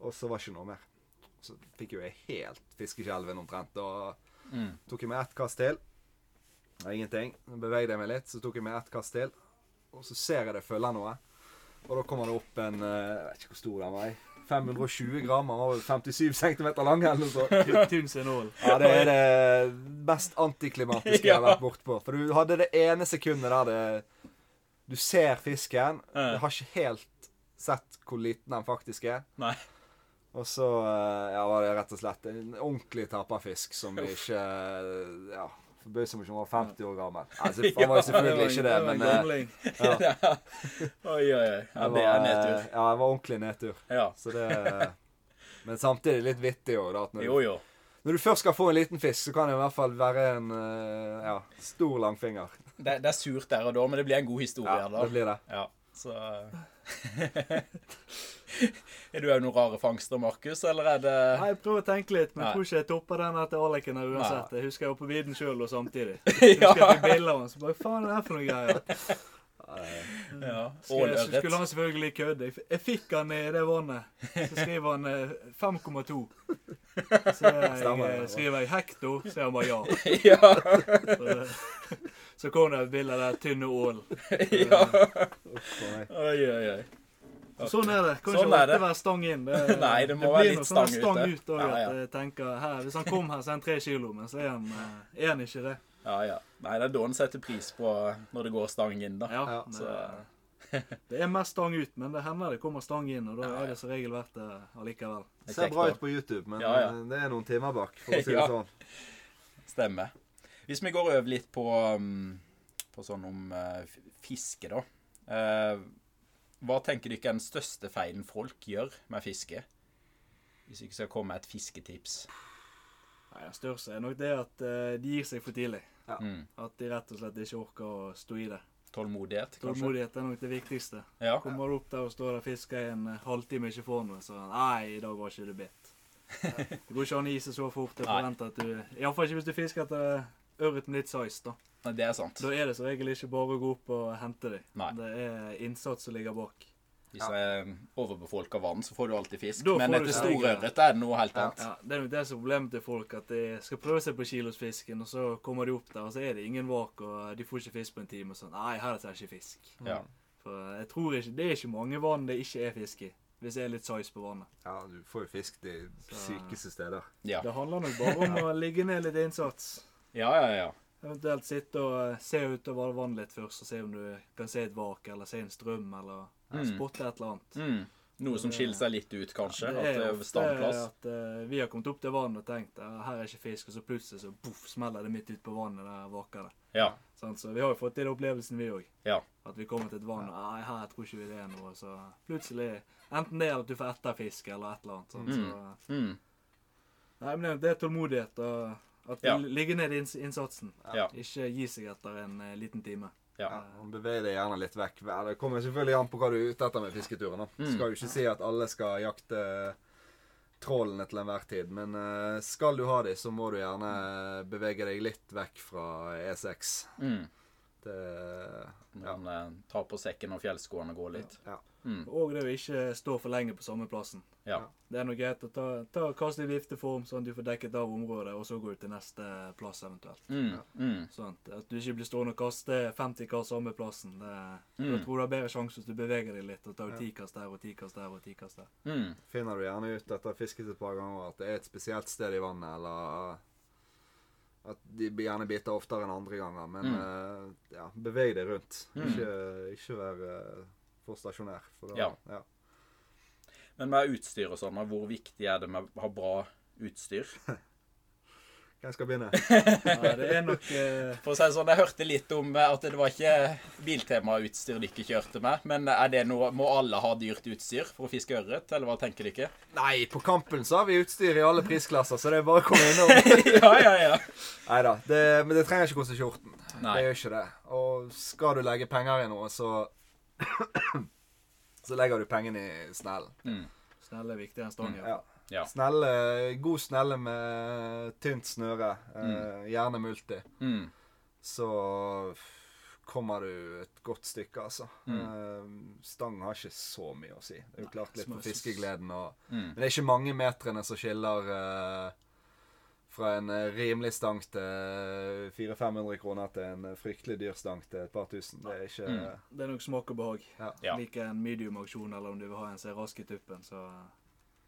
S2: Og så var det ikke noe mer. Så fikk jo jeg helt fiskeskjelven omtrent, og
S1: Mm.
S2: Tok jeg meg ett kast til. Nei, Ingenting. Bevegde jeg meg litt, så tok jeg meg ett kast til. Og så ser jeg det følger noe. Og da kommer det opp en eh, Jeg vet ikke hvor stor den var. jeg. 520 gram. Han var vel 57 cm lang eller noe sånt.
S3: innom. Tynn sin ål.
S2: Ja, det er det mest antiklimatiske jeg har vært bortpå. For du hadde det ene sekundet der det Du ser fisken. Du har ikke helt sett hvor liten den faktisk er.
S1: Nei.
S2: Og så eh, ja, var det rett og slett en ordentlig taperfisk som vi ikke eh, Ja. Forbauser meg ikke om han var 50 år gammel. Altså, han var jo selvfølgelig ikke det, men eh, ja, det,
S1: Oi, oi, oi. Ja,
S2: var,
S1: det er
S2: eh,
S1: nedtur.
S2: ja, det var ordentlig nedtur.
S1: Ja.
S2: Så det eh, Men samtidig litt vittig òg, da. At når,
S1: Jo,
S2: du-
S1: jo.
S2: når du først skal få en liten fisk, så kan det i hvert fall være en eh, ja, stor langfinger.
S1: Det, det er surt der og da, men det blir en god historie
S2: Ja,
S1: da.
S2: det blir det.
S1: Ja, så eh. Er du òg noen rare fangster, Markus, eller er det
S3: Nei, jeg prøver å tenke litt, men jeg
S1: Nei.
S3: tror ikke jeg topper den etter Aleken her uansett.
S1: Nei.
S3: Jeg husker jeg var på vidden sjøl og samtidig. Jeg husker jeg fikk bilder av han, så bare faen, hva er det her for noe greier?
S1: ja,
S3: Skulle, så
S1: Ålørret?
S3: skulle han selvfølgelig kødde. Jeg f- Jeg fikk han i det vannet. Så skriver han eh, 5,2. Så jeg,
S2: Stemmer
S3: eh,
S2: det.
S3: skriver jeg hekto, så sier han bare ja.
S1: Ja.
S3: Så, det- så kom det et bilde av den tynne ålen.
S1: ja.
S2: For meg.
S1: Oi, oi, oi.
S3: Sånn er det. Kan
S1: Sånn er
S3: ikke
S1: det.
S3: alltid være stang inn. Det,
S1: Nei, det må
S3: blir
S1: være litt
S3: nok
S1: stang
S3: sånn stang
S1: ute.
S3: ut òg.
S1: Ja, ja.
S3: Jeg tenker, her, hvis han kom her, så er han tre kilo, men så er han, eh, er han ikke det.
S1: eh, Ja, ja. Nei, det er da en setter pris på når det går stang inn, da.
S3: Ja,
S2: Ja,
S3: men,
S1: Så
S3: Det er mest stang ut, men det hender det kommer stang inn, og da er det som regel verdt det allikevel.
S1: Det er
S2: Ser
S1: kjekt,
S2: bra
S1: da.
S2: ut på YouTube, men
S1: Ja, ja.
S2: eh, det er noen timer bak, for å si det
S1: Ja.
S2: sånn.
S1: Stemmer. Hvis vi går over litt på, um, på sånn om eh, f- fiske, da. Eh, hva tenker dere er den største feilen folk gjør med fiske? Hvis dere skal komme med et fisketips.
S3: Nei, Den største er nok det at eh, de gir seg for tidlig.
S1: Mm.
S3: At de rett og slett ikke orker å stå i det.
S1: Tålmodighet, kanskje?
S3: Tålmodighet er nok det viktigste.
S1: Ja.
S3: Kommer du opp der og står der og fisker i en eh, halvtime og ikke får noe, så Nei, i dag var ikke det bitt. Det går ikke an å gi seg så fort. Jeg
S1: Nei.
S3: forventer at du Iallfall ikke hvis du fisker etter eh, ørret med litt size, da.
S1: Nei, Det er sant.
S3: Da er det som regel ikke bare å gå opp og hente dem.
S1: Nei.
S3: Det er innsats som ligger bak.
S1: Hvis det er overbefolka vann, så får du alltid fisk.
S3: Da
S1: Men
S3: får du
S1: etter
S3: stygge.
S1: storørret er det noe helt
S2: Ja.
S1: annet.
S3: Ja, Det er nok det som er problemet til folk, at de skal prøve seg på kilosfisken, og så kommer de opp der, og så er det ingen vak, og de får ikke fisk på en time, og sånn Nei, her er det ikke fisk.
S1: Ja.
S3: For jeg tror ikke Det er ikke mange vann det ikke er fisk i, hvis det er litt size på vannet.
S2: ja, du får jo fisk de sykeste steder.
S1: Ja.
S3: Det handler nok bare om å ligge ned litt innsats.
S1: ja, ja, ja.
S3: Eventuelt sitte og eh, se utover vannet litt først, og se om du kan se et vak, eller se en strøm, eller eh,
S1: Mm.
S3: spotte et eller annet.
S1: Mm. Noe som skiller seg litt ut, kanskje? At det er
S3: ofte
S1: standplass?
S3: at eh, vi har kommet opp til vannet og tenkt at her er ikke fisk, og så plutselig så boff, smeller det midt ut på vannet der vaker det.
S1: Ja.
S3: Sant? så vi har jo fått den opplevelsen, vi òg.
S1: Ja.
S3: At vi kommer til et vann og nei, her tror ikke vi det er noe. Så plutselig Enten det eller at du får etterfisk eller et eller annet. Sant?
S1: Mm.
S3: Så,
S1: Mm.
S3: nei, men det- det er tålmodighet og at vi
S1: Ja.
S3: ligger ned i inns innsatsen.
S1: Ja.
S3: Ikke gi seg etter en eh, liten time.
S1: Ja.
S2: Ja, man beveger deg gjerne litt vekk. Ja, Det kommer selvfølgelig an på hva du er ute etter med fisketuren. Da.
S1: Mm.
S2: Skal jo ikke si at alle skal jakte trålene til enhver tid, men eh, skal du ha de, så må du gjerne bevege deg litt vekk fra E6.
S1: Mm.
S2: Det, ja.
S1: Man eh, tar på sekken og fjellskoene og går litt.
S3: Og det å ikke stå for lenge på samme plassen.
S1: Ja.
S3: Det er nok greit å ta, ta kast i vifteform, sånn at du får dekket av området, og så gå ut til neste plass eventuelt.
S1: Mm. Mm.
S3: Sånn at- At du ikke blir stående og kaste 50 kast samme plassen. Det, Da
S1: Mm.
S3: tror jeg du har bedre sjanse hvis du beveger deg litt og tar 10 kast der og 10 kast der og 10 kast der.
S1: Mm.
S2: Finner du gjerne ut etter å ha fisket et par ganger at det er et spesielt sted i vannet, eller eh, at de gjerne biter oftere enn andre ganger. Men eh, ja, beveg deg rundt.
S1: Mm.
S2: Ikke, ikke vær eh, for stasjonær. For da,
S1: Ja.
S2: ja.
S1: Men med utstyr og sånn, hvor viktig er det med å ha bra utstyr?
S2: Hvem skal begynne?
S3: Nei, det er nok eh,
S1: For å si det sånn, Jeg hørte litt om eh, at det var ikke biltemautstyr dere kjørte med. Men er det noe, må alle ha dyrt utstyr for å fiske ørret, eller hva tenker dere?
S2: Nei, på kampen så har vi utstyr i alle prisklasser, så det er bare å komme innom.
S1: ja, ja, ja.
S2: Nei da, men det trenger ikke koste skjorten.
S1: Nei.
S2: Det gjør ikke det. Og skal du legge penger i noe, så Så legger du pengene i snellen.
S1: Mm.
S3: snelle er viktigere enn stang.
S2: Mm, Ja.
S1: Ja.
S2: Snelle, god snelle med tynt snøre. eh, Gjerne multi.
S1: Mm.
S2: Så kommer du et godt stykke, altså.
S1: Mm.
S2: Eh, Stang har ikke så mye å si. Det er jo klart litt
S3: små-
S2: på fiskegleden og
S1: Mm.
S2: Men det er ikke mange metrene som skiller eh, fra en eh, rimelig stang til 400-500 kroner til en eh, fryktelig dyr stang til et par tusen. Det er ikke eh,
S1: Mm.
S3: Det er nok smak og behag.
S2: Ja.
S1: Ja.
S3: Like en medium-aksjon, eller om du vil ha en som er rask i tuppen, så eh,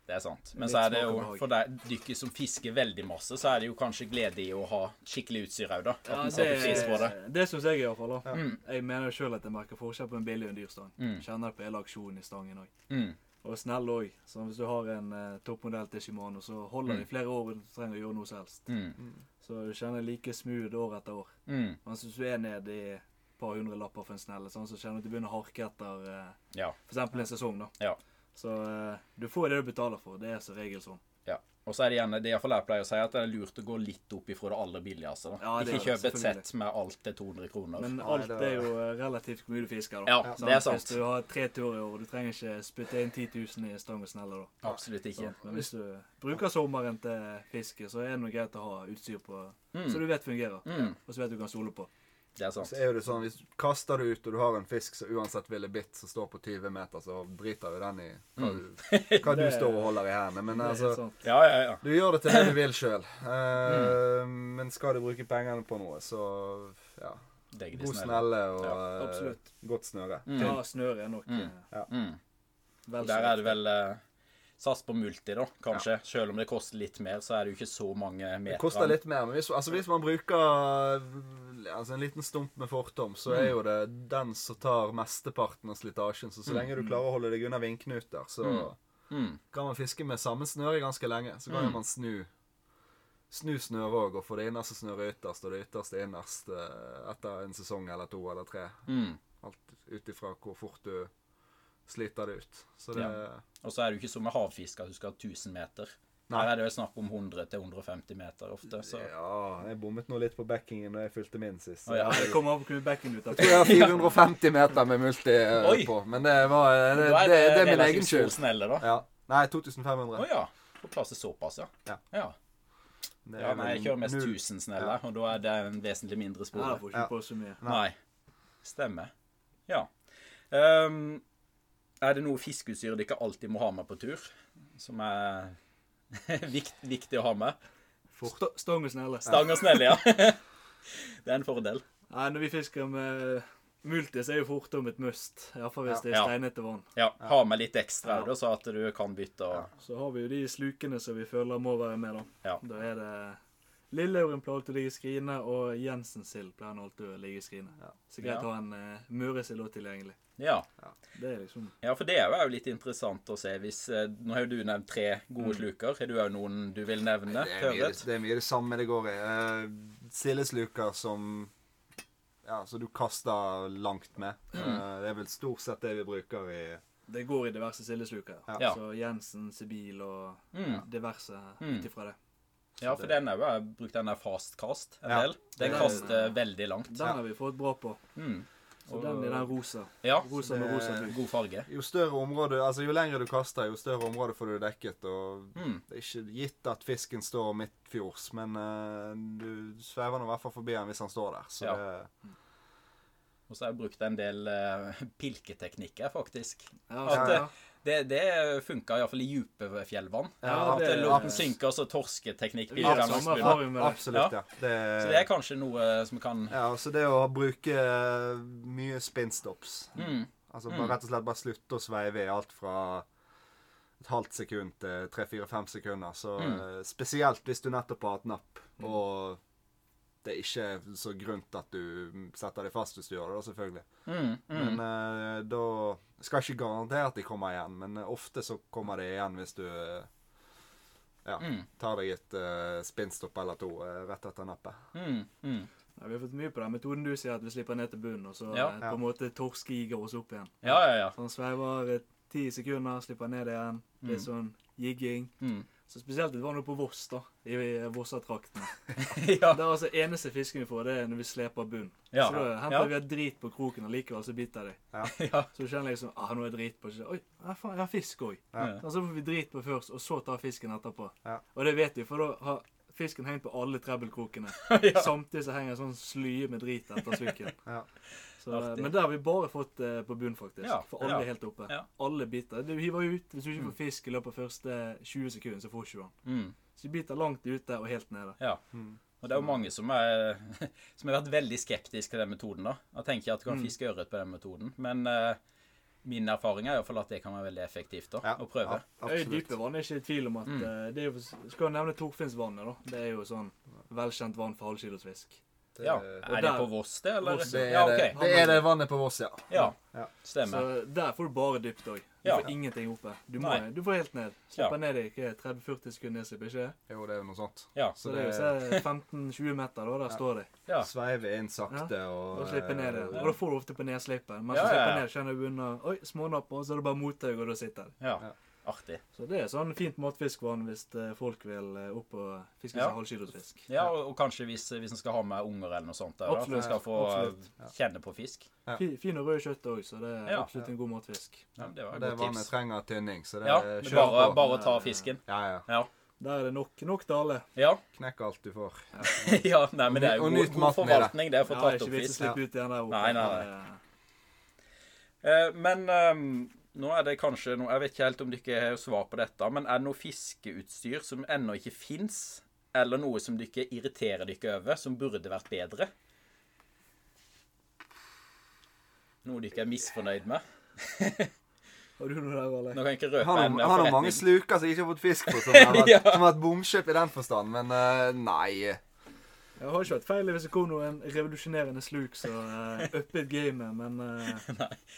S1: Det er sant. Men
S3: Litt
S1: så er det jo
S3: smak og behag.
S1: for de- dere som fisker veldig masse, så er det jo kanskje glede i å ha skikkelig utstyr òg, da. At en setter pris på det.
S3: det syns jeg iallfall. da.
S1: Mm.
S3: Jeg mener jo sjøl at jeg merker forskjell på en billig og en dyr stang.
S1: Mm.
S3: Kjenner det på hele aksjonen i stangen òg.
S1: Mm.
S3: Og snell òg. Så hvis du har en eh, toppmodell til Shimano, så holder den i flere år uten at du trenger å gjøre noe som helst.
S1: Mm.
S3: Så du kjenner like smooth år etter år.
S1: Mm.
S3: Men hvis du er ned i et par hundre lapper for en snelle, sånn, så kjenner du at du begynner å harke etter eh,
S1: Ja.
S3: for eksempel en sesong. da.
S1: Ja.
S3: Så eh, du får det du betaler for. Det er som regel sånn.
S1: Ja. Og så er det gjerne det er iallfall jeg pleier å si, at det er lurt å gå litt opp ifra det aller billigste. da.
S3: Ja, det er
S1: Ikke
S3: det,
S1: kjøpe et
S3: selvfølgelig.
S1: sett med alt til 200 kroner.
S3: Men
S2: Nei,
S3: alt
S2: det-
S3: er jo eh, relativt mye du fisker, da.
S1: ja, det er
S3: Hvis
S1: sant.
S3: du har tre turer i år, du trenger ikke spytte inn 10 000 i stang og snelle, da.
S1: Absolutt ikke.
S3: Sant? Men hvis du bruker sommeren til fiske, så er det nok greit å ha utstyr på
S1: Mm.
S3: så du vet fungerer,
S1: Mm.
S3: og så vet du kan stole på.
S1: Det er sant.
S2: Så er jo det sånn, hvis du kaster det ut og du har en fisk som uansett ville bitt, som står på 20 meter, så driter jo den i hva du, hva du
S3: Det-
S2: står og holder i hendene. Men
S3: det er sånn. helt
S2: altså
S3: sant.
S1: Ja, ja, ja.
S2: Du gjør det til det du vil sjøl. Men skal du bruke pengene på noe, så ja.
S1: Det er
S2: God
S1: snø.
S2: snelle og
S1: Ja,
S2: eh,
S3: absolutt.
S2: godt snøre.
S1: Mm.
S3: Ja, snøret er nok
S1: Mm.
S3: eh,
S1: Mm.
S3: vel
S1: Og Der er
S3: så
S1: det vel eh, sats på multi, da, kanskje. Selv om det koster litt mer, så er det jo ikke så mange meter.
S2: Det koster litt mer, men hvis, altså hvis man bruker altså en liten stump med fortom, så
S1: Mm.
S2: er jo det den som tar mesteparten av slitasjen. Så så lenge du klarer å holde deg unna vindknuter, så
S1: Mm. Mm.
S2: kan man fiske med samme snøre ganske lenge. Så kan
S1: Mm.
S2: man snu Snu snøret òg, og få det innerste snøret ytterst og det ytterste innerst eh, etter en sesong eller to eller tre.
S1: Mm.
S2: Alt ut ifra hvor fort du sliter det ut. Så det
S1: Og så er det jo ikke som med havfisk at du skal ha 1000 meter.
S2: Nei.
S1: Her er det jo snakk om 100 til 150 meter ofte. Så.
S2: Ja, jeg bommet nå litt på backingen da jeg fulgte min sist.
S1: Å, ja.
S3: Ja, det kommer an på hvor bekken du tar.
S2: Jeg tror jeg har 450 meter med multi eh,
S1: Oi.
S2: på, men det, var, eh, det,
S1: Da
S2: det, det er min
S1: relativt
S2: egen
S1: stor
S2: skyld.
S1: snelle, da.
S2: Ja. Nei,
S1: Å
S2: 2500.
S1: ja. På klasse såpass, ja.
S2: Ja.
S1: ja.
S2: Det
S1: ja
S2: er
S1: nei, jeg
S2: vel
S1: kjører mest
S2: null.
S1: 1000 snelle, og da er det en vesentlig mindre
S3: Ja, da
S1: spore.
S3: får ikke på så mye.
S1: Nei. Stemmer. Ja. Ehm, er det noe fiskeutstyr dere alltid må ha med på tur, som er vikt, viktig å ha med?
S3: Sta- Stang og snelle.
S1: Stang og snelle, ja. det er en fordel.
S3: Nei, når vi fisker med multi, så er jo fortom et must. Iallfall hvis det er
S1: Ja.
S3: steinete vann.
S1: Ja, Ha med litt ekstra,
S3: Ja.
S1: da, så at du kan bytte. og...
S3: Så har vi jo de slukene som vi føler må være med, da.
S1: Ja.
S3: Da er det Lillehaugen pleier alltid å ligge i skrinet, og Jensen-sild pleier han alltid å ligge i skrinet.
S2: Ja.
S3: Så greit
S1: Ja.
S3: å ha en uh, muresild også tilgjengelig.
S1: Ja.
S3: Det er liksom
S1: ja, for det er jo- er jo litt interessant å se hvis eh, Nå har jo du nevnt tre gode sluker. Har du òg noen du vil nevne?
S2: Det er, mye,
S1: Tørret?
S2: det er mye det samme det går i. Eh, Sildesluker som Ja, så du kaster langt med.
S1: Mm.
S2: Eh, det er vel stort sett det vi bruker i
S3: Det går i diverse sildesluker.
S2: Ja.
S1: Ja.
S3: Så Jensen, Sibil og
S1: Mm.
S3: diverse
S1: Mm.
S3: ut ifra det.
S1: Ja, for den er jo, jeg har brukt den der fast cast en
S2: Ja.
S1: del. Den
S3: Det-
S1: kaster veldig langt.
S3: Den har vi fått bra på.
S1: Mm.
S3: Så den i den rosa.
S1: Ja. Eh,
S3: Rosa med
S2: det-
S3: rosa buk.
S1: God farge.
S2: Jo større område, altså jo lengre du kaster, jo større område får du dekket. og
S1: Mm.
S2: Det er ikke gitt at fisken står midtfjords, men eh, du svever nå i hvert fall forbi den hvis han står der. Så
S1: Ja.
S2: det,
S1: Og så har jeg brukt en del eh, pilketeknikker, faktisk.
S3: Ja,
S1: At
S3: så,
S1: det,
S3: ja.
S1: det, det funka iallfall i dype fjellvann.
S3: Ja,
S1: At
S3: det-
S1: lodden
S2: abs-
S1: synker, så torsketeknikk
S3: Vi
S1: blir
S3: har
S1: den
S3: samme
S1: langs bunnen.
S3: erfaring. Har vi med det?
S2: absolutt, ja. Det,
S1: Så det er kanskje noe som kan
S2: ja, så det å bruke eh, mye spinstops
S1: mm.
S2: Altså bare, rett og slett bare slutte å sveive i alt fra et halvt sekund til tre-fire-fem sekunder. Så
S1: Mm.
S2: eh, spesielt hvis du nettopp har hatt napp, og det er ikke så grunt at du setter deg fast hvis du gjør det, da selvfølgelig.
S1: Mm. Mm.
S2: Men eh, da skal jeg ikke garantere at de kommer igjen, men eh, ofte så kommer de igjen hvis du eh, ja,
S1: Mm.
S2: tar deg et eh, spinnstopp eller to eh, rett etter nappet.
S1: Mm. Mm.
S3: Ja, vi har fått mye på den metoden du sier, at vi slipper ned til bunnen, og så
S1: Ja.
S3: eh, på en måte torskeiger oss opp igjen.
S1: Ja, ja, ja.
S3: Så han sveiver eh, ti sekunder, slipper ned igjen. Det er sånn jigging.
S1: Mm.
S3: Så spesielt det var noe på Voss, da. I eh, Vossatraktene.
S1: ja.
S3: Det er altså eneste fisken vi får, det er når vi sleper bunn.
S1: Ja.
S3: Så da
S1: Ja.
S3: henter vi drit på kroken, og likevel så biter de.
S1: Ja.
S3: Så kjenner jeg liksom ah, nå er jeg drit på. Så, Oi, ja, faen, jeg har fisk òg.
S1: Ja.
S3: Så får vi drit på først, og så tar fisken etterpå.
S2: Ja.
S3: Og det vet vi, for da har fisken hengt på alle trebbelkrokene.
S1: Ja.
S3: Samtidig så henger en sånn slye med drit etter sluken.
S2: Ja.
S3: Så, eh,
S1: Artig.
S3: men der har vi bare fått eh, på bunn, faktisk.
S1: Ja,
S3: For alle
S1: ja,
S3: er helt oppe.
S1: ja.
S3: Alle biter. Du hiver ut. Hvis du ikke får fisk i løpet av første 20 sekunder, så får du ikke den.
S1: Mm.
S3: Så du biter langt ute og helt nede.
S1: Ja.
S2: Mm.
S1: Og det er jo mange som, er, som har vært veldig skeptiske til den metoden. da. Jeg tenker at du kan
S3: Mm.
S1: fiske ørret på den metoden, men eh, min erfaring er i hvert fall at det kan være veldig effektivt da,
S2: Ja,
S1: å prøve.
S2: ab-
S3: Øy dype
S2: absolutt.
S3: vann er ikke i tvil om at
S1: Mm.
S3: eh, det er jo, Skal jo nevne Torfinnsvannet, da. Det er jo sånn velkjent vann for halvkilosfisk.
S2: Det,
S1: Ja.
S2: det,
S1: Er det
S3: der-
S1: på Voss, det? eller?
S3: Voss,
S2: er
S1: ja,
S2: det,
S1: ok.
S2: det er det vannet på Voss, ja.
S1: Ja,
S2: Ja.
S1: stemmer.
S3: Så der får du bare dypt òg. Du
S1: Ja.
S3: får ingenting oppe. Du, må,
S1: Nei.
S3: du får helt ned. Slipper
S1: Ja.
S3: ned i ikke 30-40 sekunder nedslipp, ikke
S2: Jo, det er jo noe sånt.
S1: Ja,
S3: Så, det er jo se, 15-20 meter, da. Der står de.
S1: ja.
S2: Sveive inn sakte og
S3: Og slipper ned igjen.
S2: eh,
S3: Og da får du ofte på nedslippet. Men så
S1: Ja, ja,
S3: slipper
S1: ja.
S3: ned, kjenner du unna Oi, smånapper, og så er det bare mottaug, og da sitter det.
S1: ja.
S2: Ja.
S1: Artig.
S3: Så det er sånn fint matfiskvann hvis eh, folk vil eh, opp og fiske
S1: Ja.
S3: seg halvkilosfisk.
S1: Ja, og, og kanskje hvis, hvis en skal ha med unger eller noe sånt. Der, da, at en
S3: Absolutt,
S1: skal få eh,
S3: absolutt.
S1: kjenne på fisk.
S2: Ja.
S3: Fi- Fin og rød kjøtt òg, så det er
S1: Ja.
S3: absolutt en god matfisk.
S1: Ja, men det var
S2: og
S1: et
S2: det
S1: godt
S2: vannet
S1: tips.
S2: trenger tynning, så det
S1: Ja,
S2: er-
S1: men
S2: eh, kjør
S1: bare,
S2: på.
S1: bare ta fisken.
S2: Ja, ja.
S1: Ja.
S3: Der er det nok, nok dale.
S1: Ja,
S2: Knekk alt du får.
S1: ja nei, men det er jo
S2: Og
S1: god,
S2: nyt
S1: god
S2: maten i det.
S1: forvaltning, det, er å få
S3: Ja, det er
S1: tatt
S3: ikke
S1: opp
S3: vits å
S1: fisk.
S3: slippe ut igjen der oppe.
S1: Nei, nei, nei. Eh, Men ehm, nå er det kanskje noe, Jeg vet ikke helt om dere har svar på dette, men er det noe fiskeutstyr som ennå ikke fins, eller noe som dere irriterer dere over, som burde vært bedre? Noe dere er misfornøyd med?
S3: Har du noe der, Valle?
S1: Nå kan jeg ikke
S2: Har
S1: røpe
S2: noen,
S3: eh,
S1: enda
S2: har noen mange
S1: forretning.
S2: sluker som jeg ikke har fått fisk på, som har vært,
S1: Ja.
S2: som har vært bomkjøp i den forstand, men eh, nei.
S3: Jeg har ikke vært feil hvis jeg kom noe en revolusjonerende sluk som uh, uppet gamet, men eh,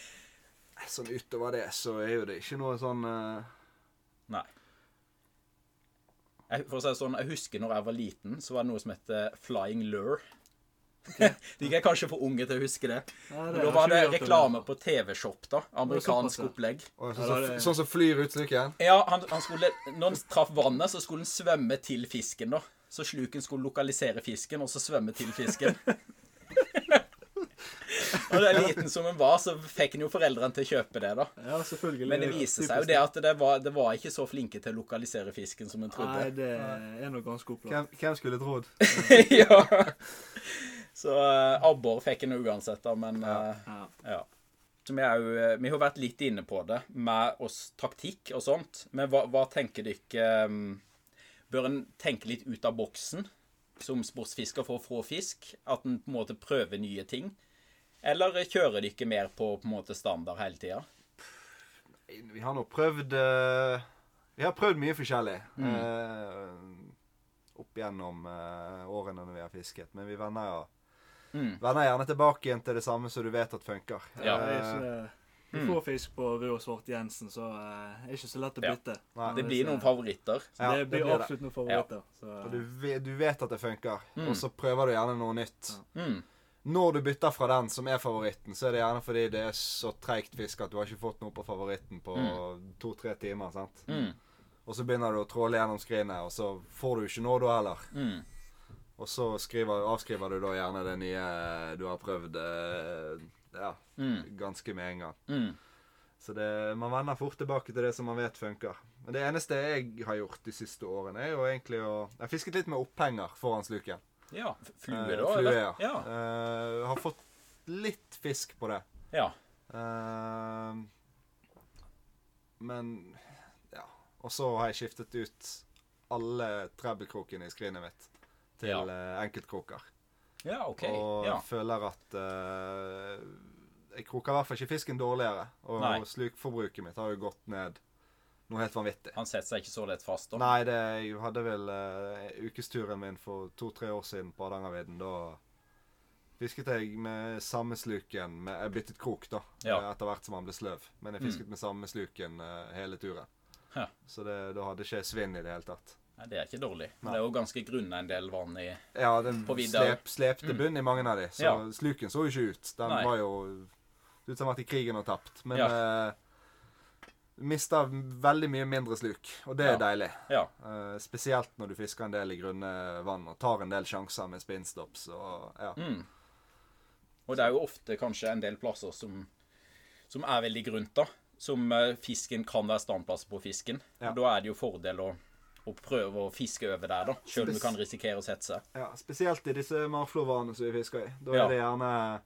S2: Sånn utover det, så er jo det ikke noe sånn eh,
S1: Nei. Jeg, for å si det sånn, jeg husker når jeg var liten, så var det noe som het eh, Flying Lure. De er kanskje for unge til å huske det.
S3: nei,
S1: Men
S3: det
S1: da
S3: har
S1: var det
S3: ikke vi hørt om.
S1: reklame på TV-shop, da.
S3: såpass,
S1: Amerikansk
S3: ja.
S1: opplegg.
S2: og sånn,
S3: Ja,
S2: som-
S3: det er-
S2: sånn som flyr ut slykken.
S1: Ja, han, han skulle, når han traff vannet, så skulle han svømme til fisken, da. Så sluken skulle lokalisere fisken, og så svømme til fisken. og da liten som han var, så fikk han jo foreldrene til å kjøpe det, da.
S3: Ja, selvfølgelig.
S1: Men det viser seg jo det at det var, det var ikke så flinke til å lokalisere fisken som en
S3: Nei,
S1: trodde.
S3: det er nok ganske opplagt.
S2: Hvem, hvem skulle trodd?
S1: ja. Så eh, abbor fikk en uansett, da, men
S2: Ja.
S1: eh,
S3: Ja.
S1: ja. Så vi, er jo, eh, vi har vært litt inne på det med oss taktikk og sånt. Men hva, hva tenker dere eh, Bør en tenke litt ut av boksen som sportsfisker for å få fisk? At en på en måte prøver nye ting? Eller kjører dere mer på, på en måte standard hele tida?
S2: Vi har nå prøvd eh, Vi har prøvd mye forskjellig.
S3: Mm.
S2: eh, opp gjennom eh, årene når vi har fisket. Men vi vender, ja.
S1: Mm.
S2: vender gjerne tilbake igjen til det samme som du vet at funker.
S1: Ja.
S3: Det er ikke
S2: Eh,
S3: det.
S1: mm.
S3: Du får fisk på rød og svart Jensen, så eh, det er ikke så lett å
S1: Ja.
S3: bytte.
S2: Nei.
S1: Det blir noen favoritter.
S3: Så
S2: Ja,
S3: det
S2: det
S3: blir
S2: blir det.
S3: absolutt noen favoritter. Så,
S2: og du, ve- du vet at det funker,
S1: Mm.
S2: og så prøver du gjerne noe nytt.
S1: Mm.
S2: Når du bytter fra den som er favoritten, så er det gjerne fordi det er så treigt fisk at du har ikke fått noe på favoritten på to-tre timer. sant?
S1: Mm.
S2: Og så begynner du å tråle gjennom skrinet, og så får du ikke noe da heller.
S1: Mm.
S2: Og så skriver, avskriver du da gjerne det nye du har prøvd eh, ja,
S1: Mm.
S2: ganske med en gang.
S1: Mm.
S2: Så det, man vender fort tilbake til det som man vet funker. Men det eneste jeg har gjort de siste årene, er jo egentlig å Jeg har fisket litt med opphenger foran sluken.
S1: Ja. f- Flue,
S2: Eh,
S1: da?
S2: flue,
S1: eller?
S2: ja.
S1: ja.
S2: Eh, har fått litt fisk på det.
S1: Ja.
S2: Eh, men ja. Og så har jeg skiftet ut alle trebbelkrokene i skrinet mitt til
S1: Ja.
S2: eh, enkeltkroker.
S1: Ja, OK.
S2: og
S1: Ja.
S2: føler at eh, jeg kroker i hvert fall ikke fisken dårligere. Og
S1: Nei.
S2: slukforbruket mitt har jo gått ned noe helt vanvittig.
S1: Han setter seg ikke så lett fast, da.
S2: Nei, det, jeg hadde vel eh, ukesturen min for to-tre år siden på Hardangervidda. Da fisket jeg med samme sluken med, Jeg byttet krok, da,
S1: Ja. Mm.
S2: eh, etter hvert som han ble sløv. Men jeg fisket med samme sluken eh, hele turen.
S1: Ja.
S2: Så det, da hadde ikke jeg svinn i det hele tatt.
S1: Nei, Det er ikke dårlig.
S2: Nei.
S1: Det er jo ganske grunna en del vann i
S2: Ja, den
S1: På vidda. Mm.
S2: slep, slepte bunn i mange av de, så
S1: Ja.
S2: sluken så jo ikke ut. Den
S1: Nei.
S2: var jo det ut som at i krigen og tapt. Men
S1: Ja.
S2: eh, mista veldig mye mindre sluk, og det er
S1: Ja.
S2: deilig.
S1: Ja.
S2: Eh, spesielt når du fisker en del i grunne vann og tar en del sjanser med spinnstops og ja.
S1: Mm. Og det er jo ofte kanskje en del plasser som, som er veldig grunt, da. Som eh, fisken kan være standplasser på fisken.
S2: Ja.
S1: Og da er det jo fordel å, å prøve å fiske over der, da. Selv om du kan risikere å sette seg.
S2: ja. Spesielt i disse marflorvanene som vi fisker i. Da er
S1: Ja.
S2: det gjerne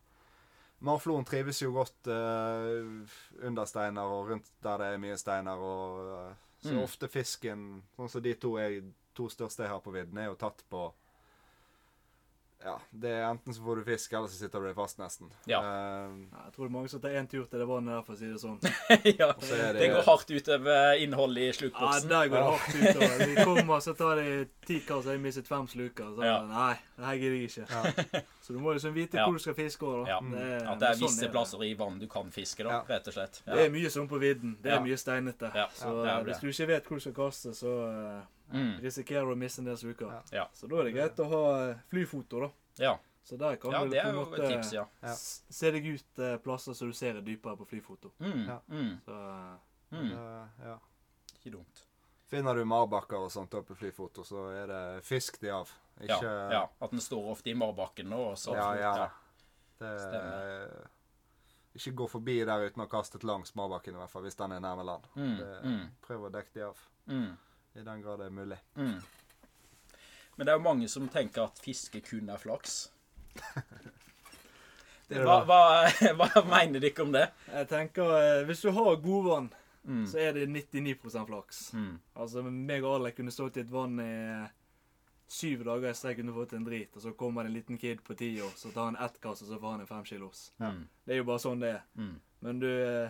S2: Marfloren trives jo godt eh, under steiner og rundt der det er mye steiner. og eh, Så
S1: Mm.
S2: ofte fisken, sånn som de to, jeg, to største jeg har på vidden, er jo tatt på Ja, det er enten så får du fisk, eller så sitter du deg fast, nesten.
S1: Ja.
S2: Eh,
S3: ja, jeg tror det er mange som tar én tur til det vannet her, for å si det sånn.
S1: ja.
S2: så er
S1: Det går hardt utover innholdet i
S3: Ja,
S1: slukboksen.
S3: Ah, der går det
S2: Ja.
S3: hardt utover. De kommer, så tar de ti kar, så har de mistet fem sluker. Så
S1: Ja.
S3: Nei, det her gidder jeg ikke.
S2: ja.
S3: Så du må liksom vite
S1: Ja.
S3: hvor du skal fiske òg, da.
S1: Ja. Mm.
S3: er-
S1: At det er
S3: sånn
S1: visse plasser i vann du kan fiske, da.
S2: Ja.
S1: Rett og slett.
S3: Det
S1: Ja.
S3: er mye sånn på vidden. Det
S2: Ja.
S3: er mye steinete.
S1: Ja,
S3: Så eh,
S1: det er det.
S3: hvis du ikke vet hvor du skal kaste, så eh,
S1: Mm.
S3: risikerer du å miste en del sluker.
S2: Ja.
S1: Ja.
S3: Så da er det greit å ha eh, flyfoto, da.
S1: ja.
S3: Så der kan
S1: Ja,
S3: du
S1: det er
S3: på en
S1: jo et
S3: måte
S1: tips, ja.
S2: Ja.
S3: s- se deg ut eh, plasser som du ser er dypere på flyfoto.
S1: Mm.
S2: Ja.
S1: Mm.
S3: Så eh,
S1: Mm.
S2: Eh, ja.
S1: Ikke dumt.
S2: Finner du marbakker og sånt oppe i flyfoto, så er det fisk de av.
S1: Ja,
S2: Ikke
S1: ja. At den står ofte i marbakken nå, og så
S2: ja, gjerne.
S1: Ja.
S2: Det
S1: Stemmer.
S2: er, ikke gå forbi der uten å ha kastet langs marbakken, i hvert fall hvis den er nærme land.
S1: Mm,
S2: Det-
S1: mm,
S2: Prøv å dekke de av,
S1: mm,
S2: i den grad det er mulig.
S1: mm. Men det er jo mange som tenker at fiske kun er flaks.
S2: er det
S1: Hva, hva, hva mener dere om det?
S3: jeg tenker eh, Hvis du har godvann,
S1: Mm,
S3: så er det 99 flaks.
S1: mm,
S3: Altså, meg og Alec kunne stått i et vann i eh, syv dager i strekk uten å fått en drit, og så kommer det en liten kid på ti år, så tar han ett kast, og så får han en fem kilos.
S1: mm,
S3: Det er jo bare sånn det er.
S1: mm,
S3: Men du eh,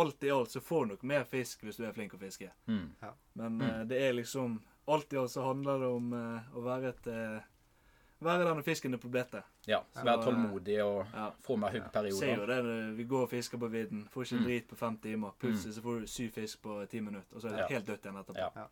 S3: Alt i alt så får du nok mer fisk hvis du er flink å fiske.
S1: mm.
S3: Men eh, det er liksom Alt i alt så handler det om eh, å være et eh, være denne fisken er på betet.
S1: Ja, så Være tålmodig og
S3: Ja.
S1: få med
S3: Ser jo
S1: hodeperioder.
S3: det, når vi går og fisker på vidden, får
S1: Mm.
S3: ikke drit på fem timer. Plutselig så får du syv fisk på ti minutter, og så er det
S1: Ja.
S3: helt dødt igjen etterpå.
S1: Ja.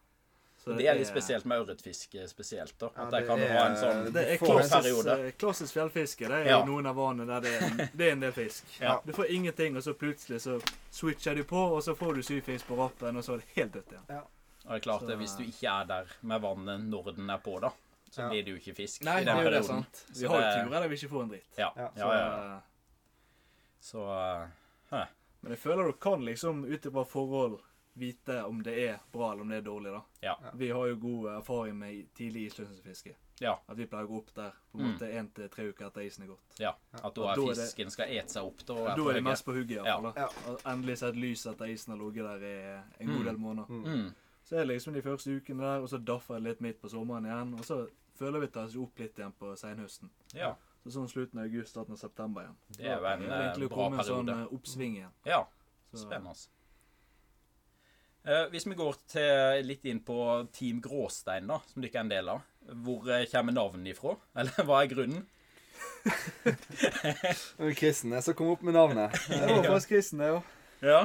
S3: Så
S1: Det er litt spesielt med ørretfiske spesielt. da.
S2: Ja,
S1: At de
S2: det
S1: kan
S2: er-
S1: ha en sånn
S3: Det er
S1: få
S3: klassisk,
S1: perioder.
S3: eh, klassisk fjellfiske. Det er
S1: Ja.
S3: jo noen av vannene der det er, det er en del fisk.
S1: Ja.
S3: Du får ingenting, og så plutselig så switcher de på, og så får du syv fisk på rappen, og så er det helt dødt igjen.
S1: Og det er klart,
S3: Så-
S1: det, Hvis du ikke er der med vannet når den er på, da, så
S2: Ja.
S1: blir det jo ikke fisk.
S3: Nei,
S1: i
S3: det
S1: den
S3: er jo det,
S1: perioden.
S3: sant.
S1: Så
S3: Vi har jo
S1: det-
S3: turer der vi ikke får en dritt.
S1: Ja.
S2: Ja,
S1: ja,
S2: så-
S1: ja, ja.
S3: Så, eh,
S1: Så eh,
S3: Men jeg føler du kan liksom ut ifra forhold vite om det er bra eller om det er dårlig, da.
S1: Ja.
S3: Vi har jo god erfaring med tidlig isløsningsfiske.
S1: Ja.
S3: At vi pleier å gå opp der på en
S1: Mm.
S3: måte én til tre uker etter isen er gått.
S1: ja. At da
S3: Og
S1: er
S3: da er det-
S1: fisken skal ete seg opp. Da på
S3: Da er de
S1: høyre.
S3: mest på hugget, iallfall.
S2: Ja.
S3: Ja. Endelig sett lys etter isen har ligget der i en
S1: Mm.
S3: god del måneder.
S1: mm.
S3: Så er det liksom de første ukene der, og så daffer det litt midt på sommeren igjen. Og så føler vi at det tar seg opp litt igjen på senhøsten.
S1: Ja.
S3: Så sånn slutten av august, starten av september igjen.
S1: Det er jo en,
S3: Da egentlig
S1: eh,
S3: å
S1: bra
S3: komme en sånn
S1: periode.
S3: eh, oppsving igjen.
S1: ja.
S3: Så-
S1: Spennende. altså. Eh, hvis vi går til litt inn på Team Gråstein, da, som dere er en del av. Hvor eh, kommer navnet ifra? Eller hva er grunnen?
S2: Det var Kristen jeg som kom opp med navnet.
S3: Det var faktisk kristen, det òg.
S1: Ja.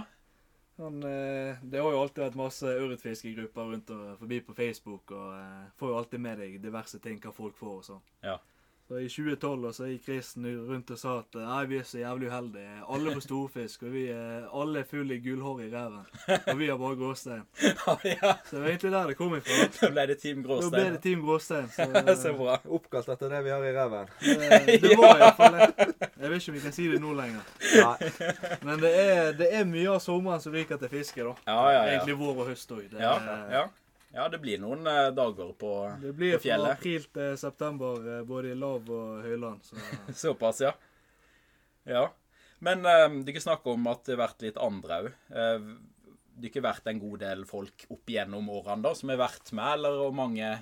S3: Han, eh, det har jo alltid vært masse ørretfiskegrupper rundt og forbi på Facebook, og eh, får jo alltid med deg diverse ting, hva folk får og sånn.
S1: Ja.
S3: Så I 2012 og så gikk Kristen rundt og sa at eh, nei, vi er så jævlig uheldige. Alle får storfisk, og vi er alle er full i gullhår i ræven. Og vi har bare gråstein.
S1: ja.
S3: Så det var egentlig der det kom ifra.
S1: Da ble det Team
S3: Da ble
S1: Gråstein.
S3: det Team Gråstein. Så,
S1: Så bra.
S2: Oppkalt etter det vi har i ræven.
S3: eh, det var iallfall det. Jeg vet ikke om vi kan si det nå lenger.
S2: Nei.
S3: Men det er, det er mye av sommeren som ryker til fiske, da.
S1: Ja, ja, ja.
S3: Egentlig vår og høst òg.
S1: Ja, ja. ja, det blir noen eh, dager på
S3: Det blir
S1: På fjellet.
S3: fra april til september eh, både i lav og høyland. Så eh,
S1: såpass, ja. Ja. Men eh, dere snakker om at det har vært litt andre òg. Eh, dere har vært en god del folk opp gjennom årene da, som har vært med, eller hvor mange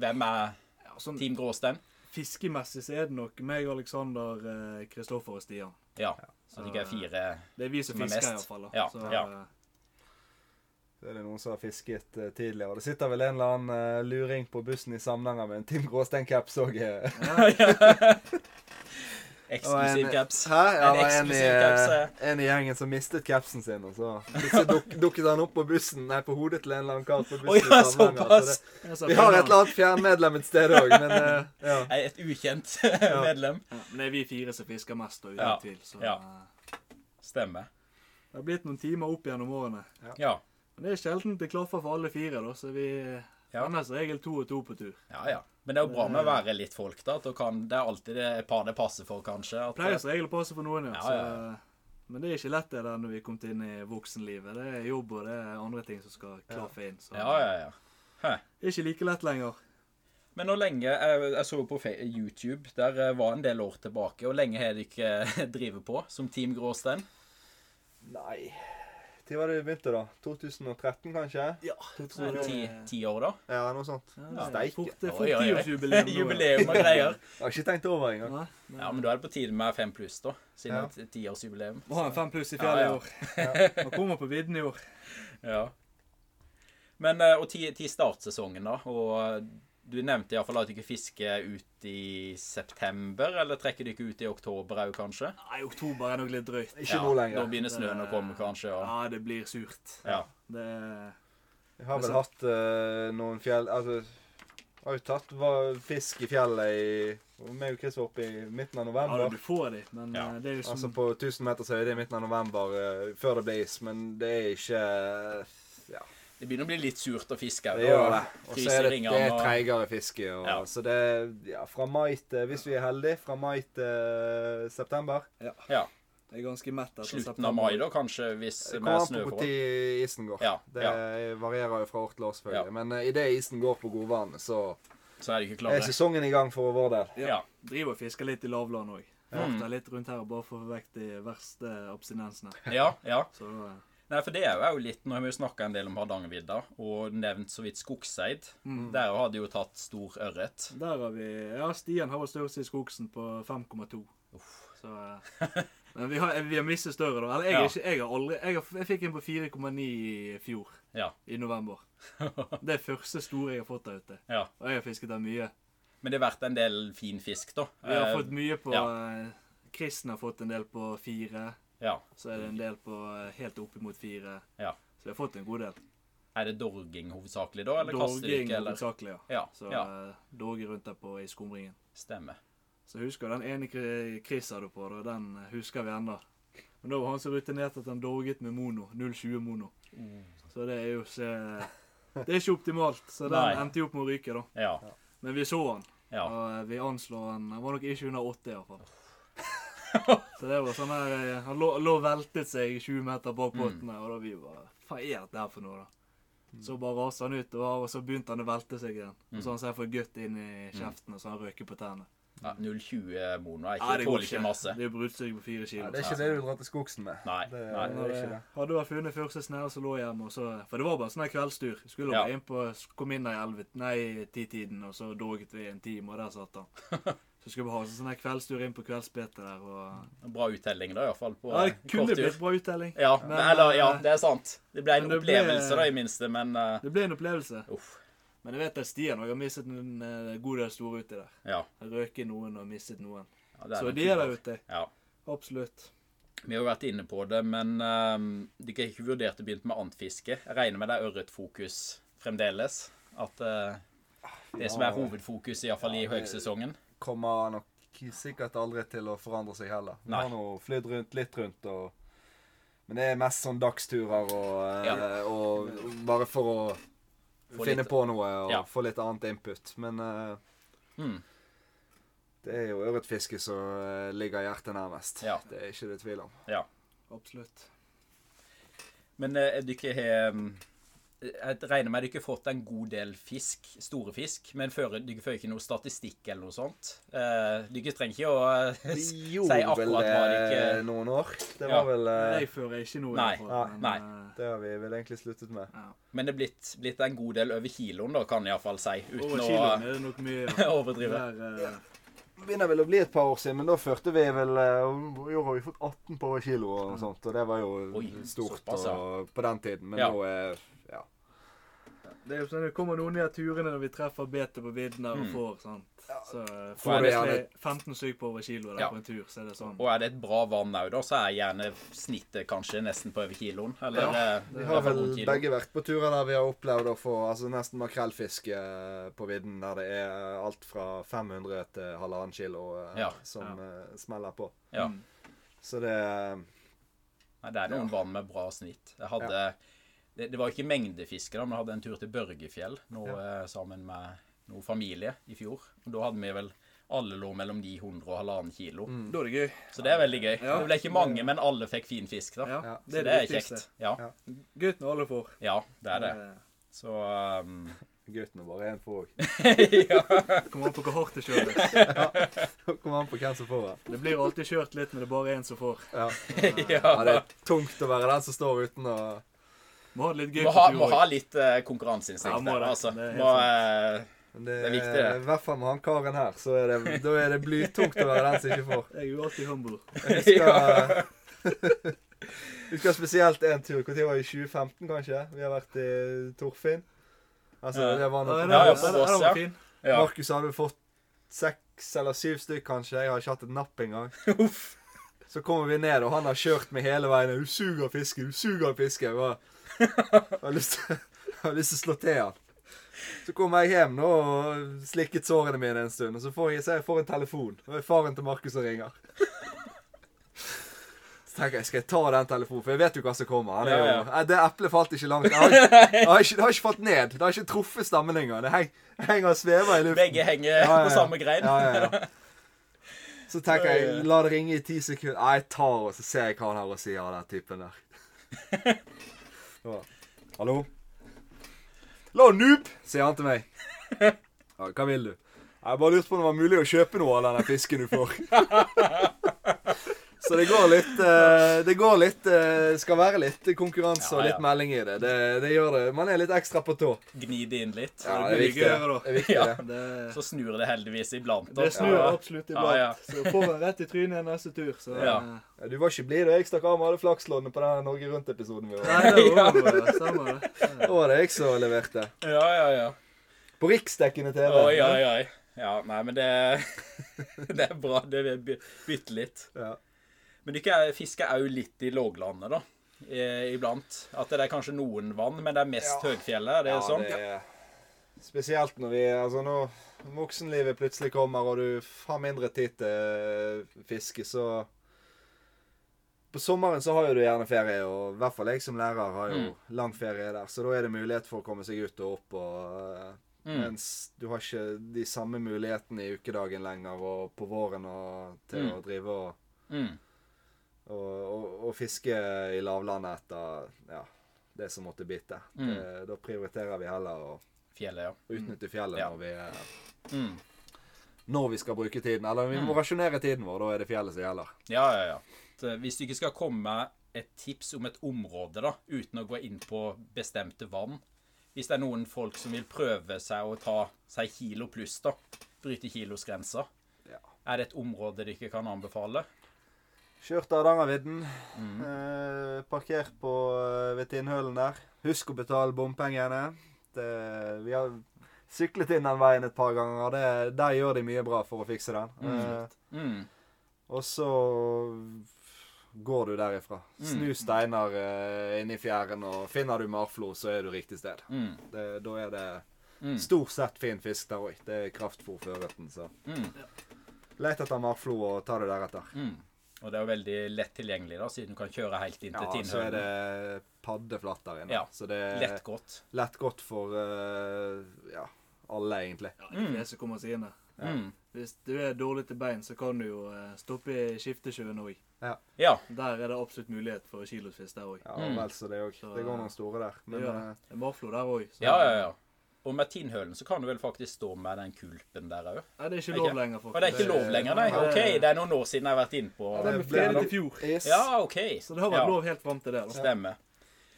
S1: Hvem er
S3: ja, sånn,
S1: Team Gråstein?
S3: fiskemessig så er det nok meg, Alexander, eh, Kristoffer og Stian.
S1: Ja. Så dere er fire
S3: Det er vi som
S1: Som er
S3: fisker,
S1: mest.
S3: iallfall. eh,
S1: Ja, ja.
S2: Så er det noen som har fisket eh, tidligere. Det sitter vel en eller annen eh, luring på bussen i Samnanger med en Tim Gråstein-caps eh. òg.
S1: Eksklusiv caps.
S2: Hæ? Ja,
S1: En
S2: det var en, i,
S1: eksklusiv caps,
S2: eh, en i gjengen som mistet capsen sin, og så plutselig duk, dukket han opp på bussen, nei, på hodet til en eller annen kar på bussen
S1: Å ja,
S2: i Samnanger. Så
S1: såpass!
S2: det, vi har et eller annet fjernmedlem et sted òg, men eh, ja.
S1: Nei, Et ukjent medlem.
S3: Men det er vi fire som fisker mest, da, uten
S1: Ja,
S3: tvil. Så
S1: ja.
S3: eh,
S1: Stemmer.
S3: det har blitt noen timer opp gjennom årene.
S1: Ja.
S3: Men det er sjelden det klaffer for alle fire, da, så vi
S1: Ja.
S3: ender som regel to og to på tur.
S1: Ja, ja. Men det er jo bra med å være litt folk, da. at da kan, det er alltid det par det passer for, kanskje. At,
S3: Pleier som regel å passe for noen, ja.
S1: Ja,
S3: Så, eh,
S1: ja,
S3: men det er ikke lett det der når vi er kommet inn i voksenlivet. Det er jobb og det er andre ting som skal klaffe inn. Så
S1: ja, ja, ja.
S3: det er ikke like lett lenger.
S1: Men hvor lenge Jeg, jeg så jo på Fe- YouTube, der eh, var en del år tilbake. Hvor lenge har dere drevet på som Team Gråstein?
S2: Nei Når var det vi begynte, da? 2013, kanskje?
S3: Ja,
S1: Så det er Ti, ti år, da?
S2: Ja, noe sånt. Steike.
S3: Fort, det er
S1: Oi,
S3: fort
S1: oi, oi.
S3: tiårsjubileum. nå, ja.
S1: Jubileum og greier.
S2: Jeg har ikke tenkt over engang.
S3: Nei,
S1: Ja, men da er det på tide med fem pluss, da.
S2: Ja.
S1: Siden det er et tiårsjubileum.
S3: Må ha en fem pluss i
S1: Ja,
S3: fjellet
S1: ja.
S3: i år. Man kommer på vidden i år.
S1: Ja. Men eh, og til til startsesongen, da? Og eh, du nevnte iallfall at dere fisker ut i september, eller trekker dere ut i oktober òg, kanskje?
S3: Nei, oktober er nok litt drøyt.
S2: Ikke nå
S1: Da
S2: lenger.
S1: begynner snøen å komme, kanskje. Og,
S3: Ja, det blir surt.
S1: ja.
S3: Det er
S2: Jeg har vel hatt eh, noen fjell... Altså, jeg har jo tatt va- fisk i fjellet i og meg og Chris var oppe i midten av
S3: Ja,
S2: november.
S3: du får det, men
S1: Ja.
S3: eh, det er liksom
S2: Altså på 1000 meters høyde i midten av november eh, før det ble is, men det er ikke Ja,
S1: Det begynner å bli litt surt å fiske.
S2: det gjør det.
S1: Og
S2: Og så er
S1: fryser
S2: det, det
S1: ringene
S2: er
S1: og
S2: treigere fiske. Og,
S1: Ja.
S2: Så det er ja, fra mai til Hvis vi er heldige, fra mai til eh, september.
S1: ja,
S3: Det er ganske mett etter
S1: slutten
S3: september.
S1: av mai, da, kanskje, hvis
S2: Det
S1: med
S2: kommer an på
S1: snøforhold.
S2: når isen går.
S1: Ja,
S2: det
S1: ja.
S2: varierer jo fra år til år, selvfølgelig. Men eh, i idet isen går på godvann, så
S1: Så er det ikke
S2: er
S1: klare.
S2: sesongen i gang for vår del.
S1: Ja.
S3: Driver og fisker litt i lavland òg.
S1: Mm.
S3: Vakter litt rundt her bare for å få vekk de verste abstinensene.
S1: Ja, ja.
S3: Så eh, da
S1: Nei, for det er jo også litt Nå har vi jo snakka en del om Hardangervidda, og nevnt så vidt Skogseid.
S3: Mm.
S1: Der har de jo tatt stor ørret.
S3: Der har vi Ja, Stian har vel størrelse i skogsen på 5,2. Så eh, Men vi har, vi har mistet større, da. Eller jeg, er
S1: Ja.
S3: ikke, jeg har aldri Jeg, har, jeg fikk en på 4,9 i fjor.
S1: Ja.
S3: I november. Det er første store jeg har fått der ute.
S1: Ja.
S3: Og jeg har fisket der mye.
S1: Men det har vært en del fin fisk, da.
S3: Vi har
S1: Eh,
S3: fått mye på
S1: ja.
S3: eh, Kristen har fått en del på fire.
S1: ja.
S3: Så er det en del på eh, helt oppimot fire.
S1: Ja.
S3: Så vi har fått en god del.
S1: Er det dorging hovedsakelig, da? Eller
S3: Dorging
S1: kastelykke? Eller?
S3: hovedsakelig, ja.
S1: Ja,
S3: Så
S1: ja,
S3: eh, dorge rundt der på i skumringen.
S1: stemmer.
S3: Så husker jeg den ene kri- Chris hadde på, da, den eh, husker vi ennå. Men da var han så rutinert at han dorget med mono. 0,20 mono.
S1: Mm.
S3: Så det er jo ikke Det er ikke optimalt. Så den
S1: Nei.
S3: endte jo opp med å ryke, da.
S1: Ja.
S3: Men vi så han,
S1: ja.
S3: og eh, vi anslår han Han var nok ikke under 80 i hvert fall. Så det var sånn her eh, Han lå, lå og veltet seg 20 meter bak båtene, og da vi bare Hva er dette her for noe, da?
S1: Mm.
S3: Så bare raste han utover, og så begynte han å velte seg igjen. Og så han seg for gutt inn i
S1: Mm.
S3: kjeften, og så han røyker på tennene.
S1: ja 0,20 mono.
S3: Nei,
S1: Jeg tåler
S3: det går
S1: ikke masse.
S3: Det er bruddstykk på fire kilo.
S2: Ja, det er ikke det du drar til skogsen med.
S1: Nei,
S2: Det,
S1: nei,
S2: det
S3: Når
S2: er
S3: jeg
S2: ikke det.
S3: hadde jeg funnet første snøre som lå hjemme, og så, for det var bare sånn her kveldstur. Skulle
S1: Ja.
S3: bare inn på, kom inn der i 11, nei, 10-tiden, og så doget vi en time, og der satt han. Så skulle vi ha en sånn her kveldstur inn på kveldsbetet der. Og...
S1: Bra uttelling, da, iallfall. På
S3: Ja,
S1: ja,
S3: det kunne
S1: kort tur.
S3: blitt bra uttelling.
S1: Ja,
S3: Men,
S1: eller, ja,
S3: eh,
S1: det er sant. Det ble en
S3: men det ble-
S1: opplevelse, da, i minste, men eh,
S3: Det ble en opplevelse.
S1: Uff.
S3: Men jeg vet at Stian også har mistet en eh, god del store uti der.
S1: Ja.
S3: Har røket noen og mistet noen.
S1: ja, det er
S3: Så
S1: nok
S3: de er der
S1: noe.
S3: ute.
S1: Ja.
S3: Absolutt.
S1: Vi har jo vært inne på det, men eh, dere har ikke vurdert å begynne med antfiske. Jeg regner med det er ørretfokus fremdeles? At eh, det som er hovedfokus, iallfall i
S2: Ja, det-
S1: høgsesongen?
S2: Kommer nok sikkert aldri til å forandre seg heller. Vi
S1: Nei.
S2: har nå flydd rundt litt rundt og Men det er mest sånn dagsturer og, eh,
S1: Ja.
S2: og bare for å
S1: Få
S2: finne
S1: litt-
S2: på noe og
S1: Ja.
S2: få litt annet input. Men eh,
S1: Mm.
S2: det er jo ørretfiske som eh, ligger hjertet nærmest.
S1: Ja.
S2: Det er ikke det tvil om.
S1: Ja.
S3: Absolutt.
S1: Men eh, dere har Jeg regner med dere har fått en god del fisk, store fisk, men fører, dere fører ikke noe statistikk eller noe sånt? Eh, dere trenger ikke å eh, s- si akkurat hva dere
S2: eh, noen år. Det
S1: Ja.
S2: var vel eh,
S3: Jeg fører ikke noe.
S1: Nei.
S3: i hvert fall,
S1: Nei.
S3: men, eh,
S2: Det har vi vel egentlig sluttet med.
S3: Ja.
S1: Men det er blitt, blitt en god del over kiloen, da, kan jeg iallfall si. Uten
S3: Over kiloen er det nok mye. ja.
S1: å overdrive.
S3: Der, eh,
S2: begynner vel å bli et par år siden, men da førte vi vel eh, Jo, har vi fått 18 på hver kilo og noe sånt, og det var jo
S1: Mm. Oi,
S2: stort
S1: såpass, ja.
S2: og, på den tiden. Men
S1: Ja.
S2: nå er ja.
S3: Det er jo sånn, det kommer noen av de turene når vi treffer bete på vidden der og
S1: Mm.
S3: får. sant? Så
S2: Får
S3: eh, får
S2: du
S3: vi
S2: gjerne-
S3: 15 stykk på over kilo der
S1: Ja.
S3: på en tur, så er det sånn.
S1: Og er det et bra vann òg, da, så er gjerne snittet kanskje nesten på over kiloen. Eller eh,
S2: Vi
S1: i
S2: har
S1: hvert fall
S2: vel
S1: rundt kiloen.
S2: begge vært på turer der vi har opplevd å få altså nesten makrellfiske eh, på vidden, der det er alt fra 500 til halvannen kilo eh,
S1: Ja.
S2: som eh, smeller på.
S1: Ja.
S3: Mm.
S2: Så det eh,
S1: Nei, det er noen vann med bra snitt. Jeg hadde det, det var ikke mengdefiske, da, men jeg hadde en tur til Børgefjell nå, eh, sammen med noe familie i fjor. Og da hadde vi vel alle lå mellom 900 og halvannen kilo.
S3: Da er det gøy.
S1: Så det er veldig gøy.
S3: Mm. Ja.
S1: Det ble ikke mange, men alle fikk fin fisk. da.
S3: Ja,
S2: Ja.
S1: Så det, er
S3: viktigste.
S1: kjekt. Ja.
S2: Ja.
S3: Gøy når alle får.
S1: ja, det er det.
S3: Eh,
S1: Så um,
S2: Guttene våre er en på òg.
S3: Eh, Kommer an på hvor hardt det kjøres.
S2: Kommer an på hvem som får det.
S3: Det blir alltid kjørt litt, men det er bare én som får. Eh,
S1: ja.
S2: Ja. ja, det er tungt å være den som står uten å
S3: Må ha det litt gøy
S1: Må
S3: på
S1: ha,
S3: tur
S1: må
S3: også.
S1: ha litt eh, konkurranseinstinkt.
S3: Ja, må
S1: der,
S3: det.
S1: altså.
S3: Det er helt
S1: må, eh,
S2: Men det,
S1: Det er viktig, det.
S2: I hvert fall med han karen her, så er det, da er det blytungt å være den som ikke får.
S3: Jeg er jo alltid humble.
S2: Jeg husker, jeg husker spesielt én tur. Når var det? I 2015, kanskje? Vi har vært i Torfinn. Altså,
S1: Ja.
S2: det var
S3: Ja,
S2: noe
S3: den-
S1: Ja, ja,
S3: den-
S1: på
S3: den
S1: Voss,
S3: var
S1: ja.
S3: fin.
S1: eh, ja.
S2: Markus hadde fått seks eller syv stykk, kanskje. Jeg har ikke hatt et napp engang.
S1: Uff.
S2: Så kommer vi ned, og han har kjørt meg hele veien. 'Du suger å fiske, du suger å fiske.' Jeg bare jeg har lyst til jeg har lyst til å slå til han. Så kom jeg hjem nå og slikket sårene mine en stund. Og så får jeg, så jeg får en telefon. Og det er faren til Markus som ringer. Så tenker jeg, skal jeg ta den telefonen? For jeg vet jo hva som kommer. Han er jo,
S1: Ja, ja.
S2: Nei, Det eplet falt ikke langt. Det har, ikke- det har, ikke- det har ikke falt ned. Det har ikke truffet stammen engang. Det heng- henger og svever i luften.
S1: Begge henger
S2: Ja, ja, ja.
S1: på samme grein.
S2: Ja, ja, ja. Så tenker jeg, la det ringe i ti sekunder. Nei, jeg tar og så ser jeg hva han har å si av den typen der. Ja. Hallo? Hallo, noob, sier han til meg. Ja, hva vil du? Jeg bare lurte på om det var mulig å kjøpe noe av denne fisken du får. Så det går litt eh, Det går litt eh, Skal være litt konkurranse og
S1: Ja, ja.
S2: litt melding i det. det. Det gjør det. Man er litt ekstra på tå.
S1: Gni det inn litt.
S3: Ja, det blir gøyere da.
S2: Det er viktig,
S1: Ja.
S2: det.
S3: Det,
S1: Så snur det heldigvis iblant. da.
S3: det snur
S1: Ja.
S3: absolutt
S1: Ja,
S3: iblant.
S1: ja.
S3: Så får man rett i trynet neste tur, så
S1: Ja.
S3: eh,
S2: Ja, Du var ikke blid da jeg stakk av med alle flakslånene på den Norge Rundt-episoden vi var.
S3: Nei, det var det. Stemmer det.
S2: Da var det jeg som leverte.
S1: Ja, ja, ja.
S2: På riksdekkende TV.
S1: Oi, oi, oi. Ja, nei, men det, det er bra. Det vil by- bytte litt.
S2: Ja.
S1: Men dere fisker òg litt i låglandet, da. eh, Iblant. At det er kanskje noen vann, men det er mest
S2: Ja.
S1: høgfjellet. Er det sånn?
S2: det er Spesielt når vi Altså, når voksenlivet plutselig kommer, og du har mindre tid til eh, fiske, så På sommeren så har jo du gjerne ferie, og i hvert fall jeg som lærer har jo
S1: Mm.
S2: lang ferie der, så da er det mulighet for å komme seg ut og opp og eh,
S1: Mm.
S2: Mens du har ikke de samme mulighetene i ukedagen lenger, og på våren og til
S1: Mm.
S2: å drive og
S1: Mm.
S2: og, og, og fiske i lavlandet etter ja, det som måtte bite.
S1: Mm.
S2: Det, da prioriterer vi heller å
S1: Fjellet, ja.
S2: utnytte fjellet
S1: Ja.
S2: når, vi, eh,
S1: Mm.
S2: når vi skal bruke tiden. Eller vi må rasjonere tiden vår, da er det fjellet som gjelder.
S1: Ja, ja, ja. Så Hvis du ikke skal komme et tips om et område, da, uten å gå inn på bestemte vann Hvis det er noen folk som vil prøve seg å ta seg kilo pluss, da, bryte kilosgrensa,
S2: Ja.
S1: er det et område de ikke kan anbefale?
S2: Kjør til Hardangervidden.
S1: Mm.
S2: Eh, parker på eh, ved Tinnhølen der. Husk å betale bompengene. Det, vi har syklet inn den veien et par ganger. Det, der gjør de mye bra for å fikse den.
S1: Mm.
S2: Eh,
S1: Mm.
S2: Og så går du derifra.
S1: Mm.
S2: Snu steiner eh, inn i fjæren, og finner du marflo, så er du riktig sted.
S1: Mm.
S2: Det, da er det
S1: Mm.
S2: stort sett fin fisk der òg. Det er kraftfôr for ørreten, så
S1: Mm.
S2: let etter marflo og ta det deretter.
S1: Mm. Og det er jo veldig lett tilgjengelig, da, siden du kan kjøre helt inn
S2: Ja,
S1: til
S2: så er
S1: Tinnhølen.
S2: det paddeflatt der inne.
S1: Ja.
S2: Så det er
S1: Lett godt.
S2: lett godt for eh, ja, alle, egentlig.
S3: Ja, de fleste kommer seg inn der.
S1: Mm.
S3: Hvis du er dårlig til bein, så kan du jo eh, stoppe i skiftesjøen òg.
S1: Ja.
S3: Der er det absolutt mulighet for kilosfisk der òg.
S2: Ja,
S1: Mm.
S2: vel så det òg.
S3: Så,
S2: Det går noen store der.
S3: Det
S2: Men
S3: gjør
S2: eh,
S3: det. Det er marflo der òg.
S1: ja, ja, ja. Og med Tinnhølen så kan du vel faktisk stå med den kulpen der òg.
S3: Nei, det er ikke
S1: Ikke-
S3: lov lenger,
S1: Og det er ikke lov lenger, nei. OK, det er noen år siden jeg har vært innpå.
S3: Ja, det ble fredet i fjor,
S2: Yes.
S1: Ja, OK.
S3: så det har vært
S1: Ja,
S3: lov helt fram til det. Da.
S1: Stemmer.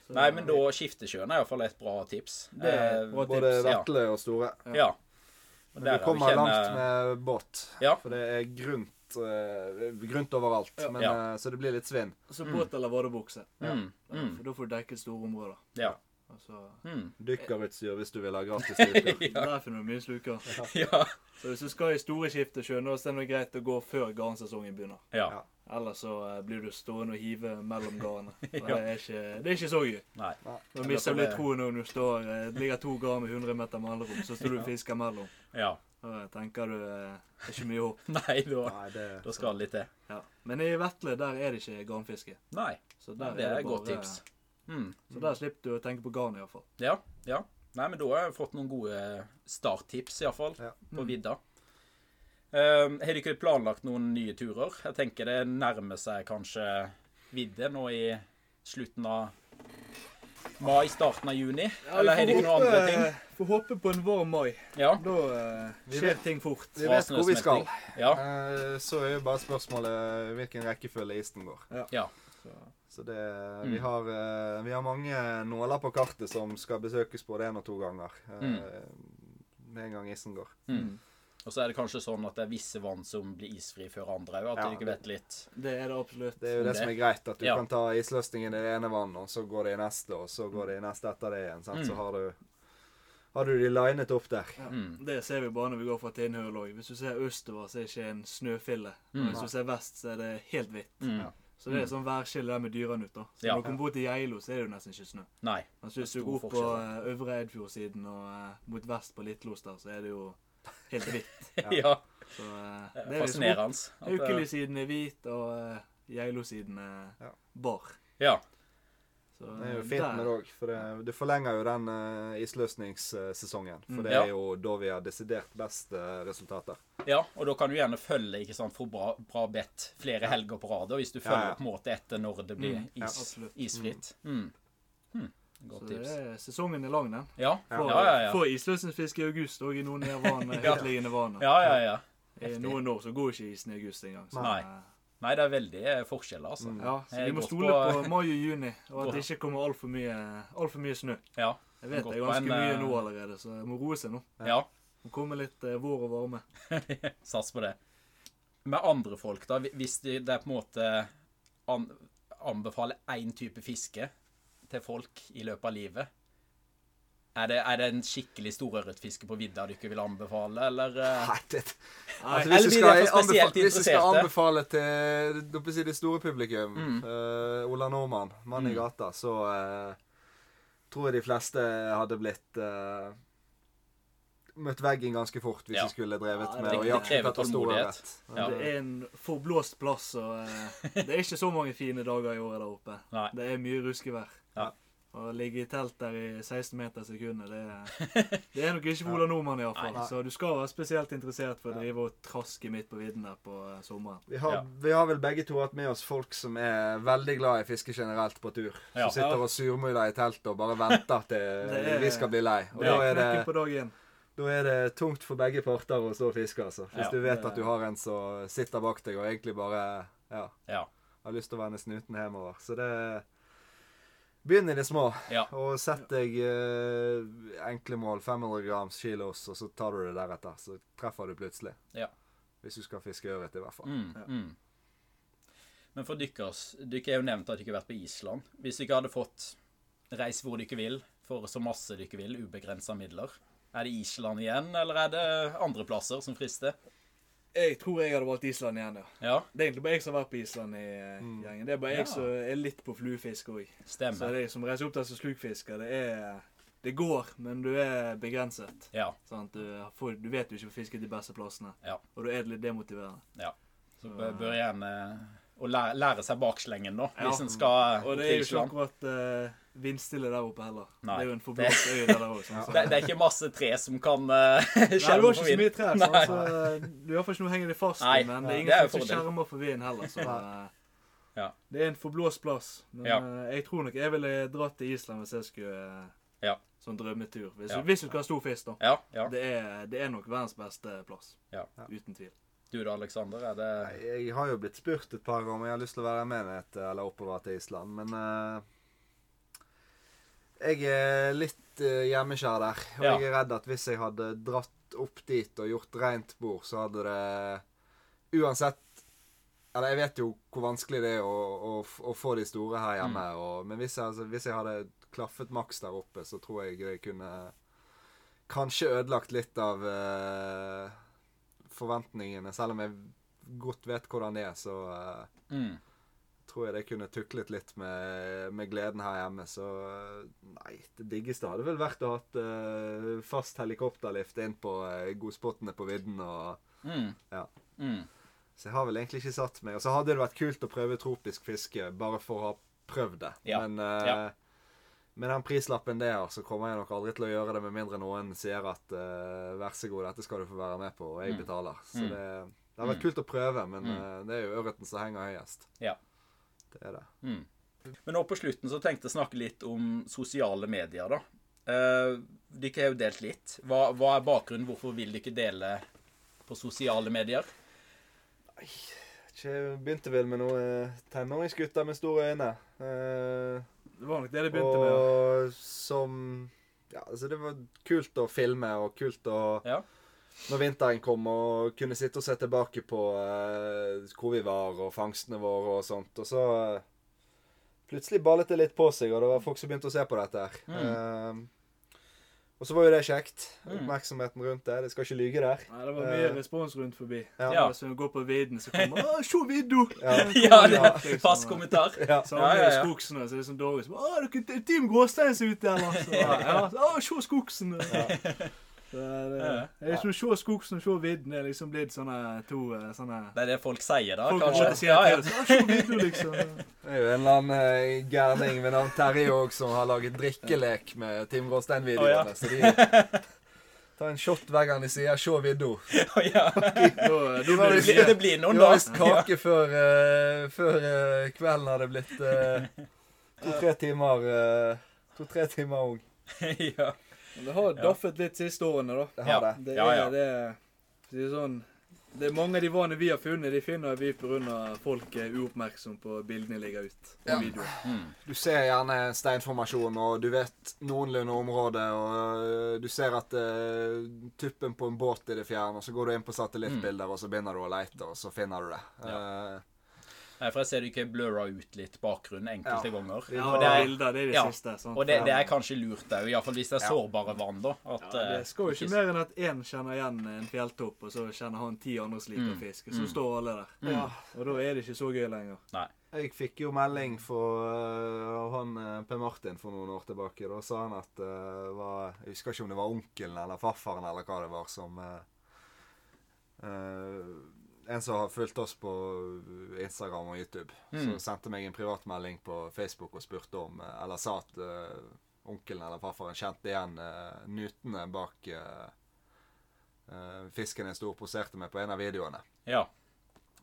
S3: Så-
S1: Nei, men da skiftesjøen er iallfall et bra tips.
S3: Det er
S1: Eh,
S3: bra tips.
S2: Både
S1: tips, ja.
S2: vetle og store.
S1: Ja. Og
S2: Men
S1: der
S2: du
S1: er
S2: kommer
S1: jo kjenne-
S2: langt med båt.
S1: Ja.
S2: For det er grunt, eh, grunt overalt.
S3: Ja.
S2: Men,
S1: Ja.
S2: eh, så det blir litt svinn.
S3: Så båt eller vadebukse.
S1: Mm, mm,
S3: For da får du dekket store områder.
S1: ja.
S3: Altså,
S1: Mm,
S2: Dykkerutstyr hvis du vil ha gratis dykker.
S3: Der finner du mye sluker.
S1: ja.
S3: Så hvis du skal i store skiftesjøen, da så er det greit å gå før garnsesongen begynner.
S1: Ja.
S3: Ellers så eh, blir du stående og hive mellom garnene. Og Det, er ikke, det er ikke så gøy.
S1: Nei.
S3: Nå mister du litt troen når du står, eh, det ligger to garn med 100 meter mellomrom, så står du og fisker mellom.
S1: Ja.
S3: Da tenker du eh, det er ikke mye håp.
S1: Nei, da,
S2: Nei, det,
S1: da skal det litt til.
S3: Ja. Men i Vetle der er det ikke garnfiske.
S1: Nei.
S3: Så der
S1: Det er et
S3: bare-
S1: godt tips. Mm,
S3: Så der slipper du å tenke på garn iallfall.
S1: ja. Ja. Nei, men da har jeg fått noen gode eh, starttips, iallfall,
S2: Ja.
S1: på vidda. Um, har dere planlagt noen nye turer? Jeg tenker det nærmer seg kanskje vidde nå i slutten av mai, starten av juni. Eller har dere noen andre ting?
S3: Får Eh, håpe på en varm mai.
S1: Ja.
S3: Da eh, skjer ting fort.
S2: vi
S1: Bra
S2: vet hvor vi skal.
S1: snøsmelting. Ja.
S2: Eh, Så er jo bare spørsmålet eh, hvilken rekkefølge isen går.
S1: Ja.
S2: Så det, vi,
S1: Mm.
S2: har, eh, vi har mange nåler på kartet som skal besøkes både én og to ganger. eh, Med en gang isen går.
S1: Mm. Og så er det kanskje sånn at det er visse vann som blir isfri før andre òg, at
S2: Ja,
S1: du ikke vet litt
S3: Det er det absolutt.
S2: Det er jo det
S1: Det-
S2: som er greit, at du
S1: Ja.
S2: kan ta isløsningen i det ene vannet, og så går det i neste, og så går det
S1: Mm.
S2: i neste etter det igjen. Sant? Så har du, har du de linet opp der.
S3: Ja.
S1: Mm.
S3: Det ser vi bare når vi går fra Tinnhøl òg. Hvis du ser østover, så er det ikke en snøfille. Og hvis du ser vest, så er det helt hvitt.
S1: Mm.
S3: Så det er sånn værskille der med Dyranut. da. Så
S1: Ja.
S3: når du kommer bort til Geilo, så er det jo nesten ikke snø.
S1: Nei.
S3: Men hvis du
S1: stor
S3: går opp på
S1: forskjell.
S3: eh, Øvre Eidfjordsiden og eh, mot vest på Litlos der, så er det jo helt hvitt.
S1: Ja.
S3: Så eh,
S1: Det
S3: det
S1: er
S3: er liksom
S1: fascinerende. at eh, det-
S3: Haukeli-siden er hvit, og eh, Geilo-siden er
S2: Ja.
S3: bar.
S1: eh, Ja.
S3: Så,
S2: Det er jo
S3: eh,
S2: fint
S3: der-
S2: med det òg, for det, du forlenger jo den eh, isløsningssesongen. For det
S1: Mm. Ja.
S2: er jo da vi har desidert best eh, resultater.
S1: ja. Og da kan du gjerne følge ikke sant, for bra, bra bedt flere helger på rad, og hvis du følger
S2: Ja, ja.
S1: på en måte etter når det blir
S3: Mm,
S2: ja,
S1: is,
S3: absolutt.
S1: isfritt. Mm. Mm.
S3: Så
S1: Godt
S3: det
S1: tips.
S3: er, eh, sesongen er lang, den.
S1: Ja.
S3: Få,
S1: Ja, ja, ja.
S3: få isløsningsfiske i august og i noen av vanene,
S1: Ja.
S3: høytliggende vanene.
S1: Ja, ja, ja.
S3: I noen år så går ikke isen i august engang. Så,
S1: Nei.
S3: eh,
S1: Nei, det er veldig eh, forskjell, altså.
S3: Ja, så
S1: Jeg har
S3: vi må
S1: gått
S3: stole på,
S1: på-
S3: mai og juni, og
S1: Bra.
S3: at det ikke kommer altfor mye, alt for mye snø.
S1: Ja.
S3: Jeg vet
S1: Gått
S3: det er
S1: på en,
S3: ganske mye
S1: eh,
S3: nå allerede, så jeg må roe seg nå.
S1: Ja.
S3: Må komme litt eh, vår og varme.
S1: Sats på det. Med andre folk, da, hvis de- det er på en måte an, anbefaler én type fiske til folk i løpet av livet, Er det, er det en skikkelig storørretfiske på vidda du ikke vil anbefale, eller eh,
S2: Nei, det
S3: Nei,
S1: eller
S2: altså, hvis, du
S1: blir det
S2: skal
S1: for spesielt
S2: anbefale, hvis du skal
S1: interesserte?
S2: anbefale til du får si det store publikum, eh, Ola Nordmann, mann i
S1: Mm.
S2: gata, så eh, tror jeg de fleste hadde blitt eh, Møtt veggen ganske fort hvis
S1: Ja.
S2: de skulle drevet
S3: Ja, det-
S2: med å
S3: det
S2: jakte
S1: krever
S2: etter stor
S1: tålmodighet.
S2: ørret.
S1: Ja.
S3: Det er en forblåst plass, og eh, det er ikke så mange fine dager i året der oppe.
S1: Nei.
S3: Det er mye ruskevær.
S1: Ja.
S3: Å ligge i telt der i 16 meter sekundet, det, er- det er nok ikke for Ola Nordmann iallfall.
S2: Nei.
S3: Så du skal være spesielt interessert for å drive og traske midt på vidden der på eh, sommeren.
S2: Vi har,
S1: Ja.
S2: vi har vel begge to hatt med oss folk som er veldig glad i fiske generelt på tur.
S1: Ja.
S2: Som
S3: Ja.
S2: sitter og surmuler i teltet og bare venter
S3: Det
S2: til
S3: er-
S2: vi skal bli lei. Og
S3: Det
S2: da
S3: er
S2: er
S3: knekken
S2: det,
S3: på dag én.
S2: da er det tungt for begge parter å stå og fiske, altså. Hvis
S1: Ja.
S2: du vet at du har en som sitter bak deg og egentlig bare ja,
S1: Ja.
S2: har lyst til å vende snuten hjemover. Så det Begynn i det små,
S1: Ja.
S2: og sett deg eh, enkle mål. 500 grams, kilos, og så tar du det deretter. Så treffer du plutselig.
S1: Ja.
S2: Hvis du skal fiske ørret, i hvert fall.
S1: Mm, mm. Men for dykkers Dere har jo nevnt at dere har vært på Island. Hvis dere hadde fått reis hvor dere vil, for så masse dere vil, ubegrensa midler, er det Island igjen, eller er det andre plasser som frister?
S3: Jeg tror jeg hadde valgt Island igjen, ja.
S1: Ja,
S3: Det er egentlig bare jeg som har vært på Island i eh,
S2: Mm.
S3: gjengen. Det er bare
S1: Ja.
S3: jeg som er litt på fluefiske òg. Så
S1: stemmer.
S3: det som reiser opp der som slukfisker, det er Det går, men du er begrenset.
S1: Ja,
S3: Sant? Du, får, du vet jo ikke å fiske de beste plassene.
S1: Ja.
S3: Og du er litt demotiverende.
S1: ja. Så bør bør gjerne å lære, lære seg bakslengen, da,
S3: Ja.
S1: hvis en skal eh,
S3: Og det
S1: til
S3: er jo ikke
S1: Island.
S3: akkurat eh, vindstille der oppe heller.
S1: Nei.
S3: Det er jo en forblåst øy der òg. Sånn, så.
S1: Det, det er ikke masse tre som kan eh,
S3: Nei, det
S1: skjerme
S3: var
S1: for
S3: ikke så
S1: vind.
S3: mye trær, sånn, så eh, du har iallfall ikke noe å henge deg fast i.
S1: Nei, ja,
S3: Men det er
S1: det er jo
S3: ingen som
S1: fordel.
S3: skjermer for vind heller. Så, eh,
S1: Ja.
S3: Det er en forblåst plass. Men
S1: Ja.
S3: eh, jeg tror nok jeg ville dratt til Island hvis jeg skulle eh,
S1: Ja.
S3: Sånn drømmetur. Hvis,
S1: Ja.
S3: hvis du skal ha stor fisk, da.
S1: Ja, ja.
S3: Det, er, det er nok verdens beste plass.
S1: Ja.
S3: Uten tvil.
S1: Du da, Aleksander? Er det
S2: Nei, Jeg har jo blitt spurt et par ganger om jeg har lyst til å være med ned til, eller oppover til Island, men eh, Jeg er litt eh, hjemmeskjær der. Og
S1: Ja.
S2: jeg er redd at hvis jeg hadde dratt opp dit og gjort rent bord, så hadde det Uansett Eller jeg vet jo hvor vanskelig det er å, å, f- å få de store her hjemme, og, men hvis jeg, altså, hvis jeg hadde klaffet maks der oppe, så tror jeg det kunne kanskje ødelagt litt av eh, forventningene. Selv om jeg godt vet hvordan det er, så eh,
S1: mm.
S2: tror jeg det kunne tuklet litt med, med gleden her hjemme. Så eh, nei, det diggeste hadde vel vært å ha hatt eh, fast helikopterlift inn på eh, godspottene på vidden. Og,
S1: Mm.
S2: Ja.
S1: Mm.
S2: så jeg har vel egentlig ikke satt meg. Og så hadde det vært kult å prøve tropisk fiske, bare for å ha prøvd det.
S1: Ja.
S2: Men eh,
S1: Ja.
S2: Med den prislappen det har, så kommer jeg nok aldri til å gjøre det, med mindre noen sier at eh, vær så god, dette skal du få være med på, og jeg
S1: Mm.
S2: betaler. Så
S1: Mm.
S2: det, det har vært kult å prøve, men eh, det er jo ørreten som henger høyest.
S1: Ja.
S2: Det er det.
S1: Mm. Men nå på slutten så tenkte jeg snakke litt om sosiale medier, da. Eh, dere har jo delt litt. Hva, hva er bakgrunnen? Hvorfor vil dere dele på sosiale medier?
S2: Ikke begynte vel med noen tenåringsgutter med store øyne. Eh,
S3: Det var nok det det begynte med.
S2: og som Ja, altså det var kult å filme, og kult å
S1: Ja.
S2: Når vinteren kom, og kunne sitte og se tilbake på eh, hvor vi var, og fangstene våre og sånt. Og så eh, plutselig ballet det litt på seg, og det var folk som begynte å se på dette her. Eh, og så var jo det kjekt.
S1: Mm.
S2: Oppmerksomheten rundt det. Det skal ikke lyge der.
S3: Nei, det var mye
S2: Eh,
S3: respons rundt forbi.
S2: ja.
S3: Ja. Hvis hun går på vidden, så kommer 'Å, se vidda!'
S2: Ja.
S1: Ja, det
S2: Ja.
S3: liksom-
S1: er fast kommentar.
S2: Ja.
S3: Så
S1: Ja,
S3: har vi
S1: ja, ja.
S3: skogsene, så er det som Doris 'Å, dere- det er Team Gråstein som er ute, eller?' Så, ja. så, 'Å, se skogsen!' Så er det, det er ikke noe 'se skogsen' og 'se vidden'. Det er liksom blitt sånne to eh, sånne
S1: Det er det folk sier, da,
S3: Folk måtte si
S1: kanskje?
S3: det
S1: Ja,
S3: til
S1: ja.
S3: oss. 'Å, se vidda', liksom.
S2: Det er jo en eller annen eh, gærning ved navn Terje òg som har laget drikkelek med Team
S1: Å,
S2: Gråstein-videoene.
S1: ja.
S2: Så de tar en shot hver gang de sier 'sjå viddo'.
S1: ja.
S3: Da, da
S2: var
S1: Det
S3: blir det
S1: blir,
S3: mye.
S1: det blir
S2: Det
S1: noen,
S2: var
S1: Sånn da.
S2: visst kake før, eh, før eh, kvelden hadde blitt eh, to-tre timer eh, To-tre timer ung.
S1: Ja.
S3: Men Det har daffet litt siste årene, da.
S2: Det
S1: Ja.
S2: har det.
S3: Det
S1: Ja, ja.
S3: er det for å si det er sånn Det er mange av de vanene vi har funnet, de finner vi pga. folk er uoppmerksomme på bildene ligger ut. Og
S2: Ja.
S3: videoer.
S1: Mm.
S2: Du ser gjerne steinformasjon, og du vet noenlunde området, og øh, du ser at øh, tuppen på en
S1: Mm.
S2: båt i det fjerne, og så går du inn på satellittbilder, og så begynner du å leite, og så finner du det. Eh,
S1: Eh, For jeg ser du ikke bløra ut litt bakgrunn enkelte
S2: Ja.
S1: ganger.
S2: Ja,
S1: og det er,
S3: bilder, det er det
S1: ja.
S3: siste. Sant?
S1: og det, det er kanskje lurt òg, iallfall hvis det er
S2: Ja.
S1: sårbare vann, da. At,
S3: Ja,
S1: eh,
S3: det skal jo ikke
S1: ikke-
S3: mer enn at én kjenner igjen en fjelltopp, og så kjenner han ti andre sliter
S1: Mm.
S3: fisk. og Så står alle der.
S2: Ja.
S3: Og da er det ikke så gøy lenger.
S2: Jeg fikk jo melding for, eh, av han eh, Per Martin for noen år tilbake. Da sa han at eh, var, Jeg husker ikke om det var onkelen eller farfaren eller hva det var som eh, eh, En som har fulgt oss på Instagram og YouTube, som
S1: Mm.
S2: sendte meg en privatmelding på Facebook og spurte om eh, Eller sa at eh, onkelen eller farfaren kjente igjen eh, nutene bak eh, eh, fisken jeg sto og poserte med på en av videoene.
S1: Ja.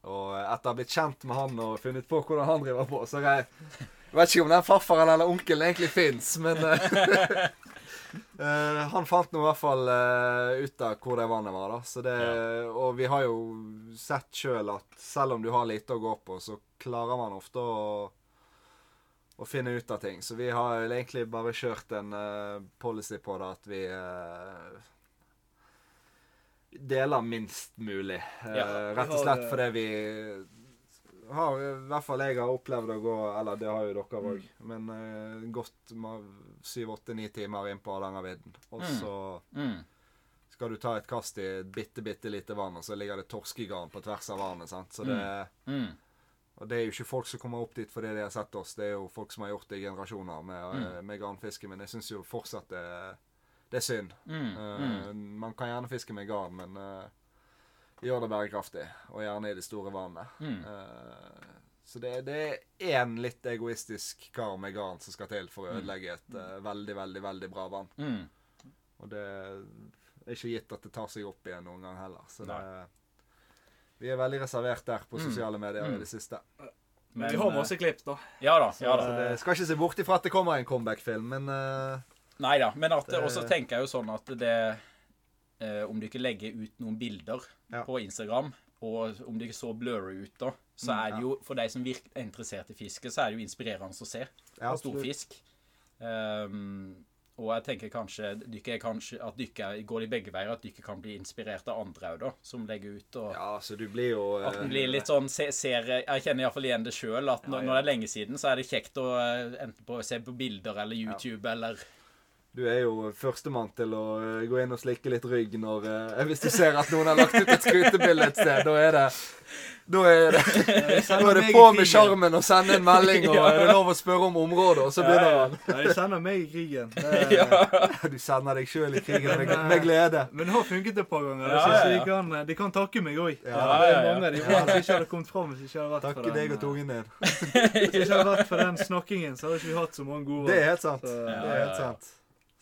S2: Og etter å ha blitt kjent med han og funnet på hvordan han driver på, så har jeg jeg vet ikke om den farfaren eller onkelen egentlig fins, men eh, eh, Han fant nå i hvert fall eh, ut av hvor det vannet var, da. Så det, Og vi har jo sett sjøl at selv om du har lite å gå på, så klarer man ofte å, å finne ut av ting. Så vi har vel egentlig bare kjørt en eh, policy på det at vi eh, deler minst mulig. Eh,
S1: Ja,
S3: vi
S2: rett og
S3: har,
S2: slett
S3: eh,
S2: fordi vi har I hvert fall jeg har opplevd å gå Eller det har jo dere
S1: Mm.
S2: òg. Men eh, gått ma- syv, åtte, ni timer inn på Hardangervidda. Og
S1: Mm.
S2: så
S1: Mm.
S2: skal du ta et kast i et bitte, bitte lite vann, og så ligger det torskegarn på tvers av vannet. sant? Så det,
S1: Mm.
S2: Og det er jo ikke folk som kommer opp dit fordi de har sett oss, det er jo folk som har gjort det i generasjoner med,
S1: Mm.
S2: eh, med garnfiske. Men jeg syns jo fortsatt det, det er synd.
S1: Mm. Mm.
S2: Eh, Man kan gjerne fiske med garn, men eh, gjør det bærekraftig. Og gjerne i det store vannet.
S1: Mm.
S2: Eh, så det, det er én litt egoistisk kar med garn som skal til for å ødelegge et eh, veldig, veldig, veldig bra vann.
S1: Mm.
S2: Og det er ikke gitt at det tar seg opp igjen noen gang heller. Så det, vi er veldig reservert der på
S1: Mm.
S2: sosiale medier i
S1: Mm.
S2: det siste.
S3: Men,
S1: Men,
S3: vi har
S1: eh,
S3: masse klipp, da.
S1: Ja da. ja da.
S2: Så det skal ikke se bort ifra at det kommer en comeback-film, men eh,
S1: Nei da. Men at,
S2: Det-
S1: og så tenker jeg jo sånn at det eh, Om du ikke legger ut noen bilder
S2: Ja.
S1: på Instagram, og om du ikke så blurry ut da, så
S2: Mm,
S1: er det jo for de som virk- er interessert i fiske, så er det jo inspirerende å se.
S2: ja,
S1: på stor fisk. Ehm, og jeg tenker kanskje, dykke er kanskje at dykke er- går de begge veier, at dykke kan bli inspirert av andre òg, da, som legger ut og
S2: Ja, så du blir jo eh,
S1: At den blir litt sånn se, ser, Jeg kjenner iallfall igjen det sjøl, at når,
S3: Ja, ja.
S1: når det er lenge siden, så er det kjekt å eh, enten på, se på bilder eller YouTube eller
S2: Du er jo førstemann til å eh, gå inn og slikke litt rygg når eh, Hvis du ser at noen har lagt ut et skutebilde et sted, da er det Da er det, da er det på med sjarmen og sende en melding, og er det lov å spørre om området, og så begynner han.
S3: Ja, de sender meg i krigen. Det-
S2: Du sender deg sjøl i krigen med, med glede.
S3: Men det har funket et par ganger.
S1: Ja,
S3: så
S1: ja, ja.
S3: De, kan, de kan takke meg òg.
S2: Ja,
S3: det
S1: ja,
S3: er
S1: ja.
S3: mange av de som ikke hadde kommet fram hvis det ikke hadde vært for
S2: Takke
S3: den,
S2: deg og
S3: eh,
S2: tungen din.
S3: Hvis det ikke hadde vært for den snakkingen, så hadde ikke vi hatt så mange gode
S2: Det er
S3: ord.
S2: helt sant. Det er helt sant.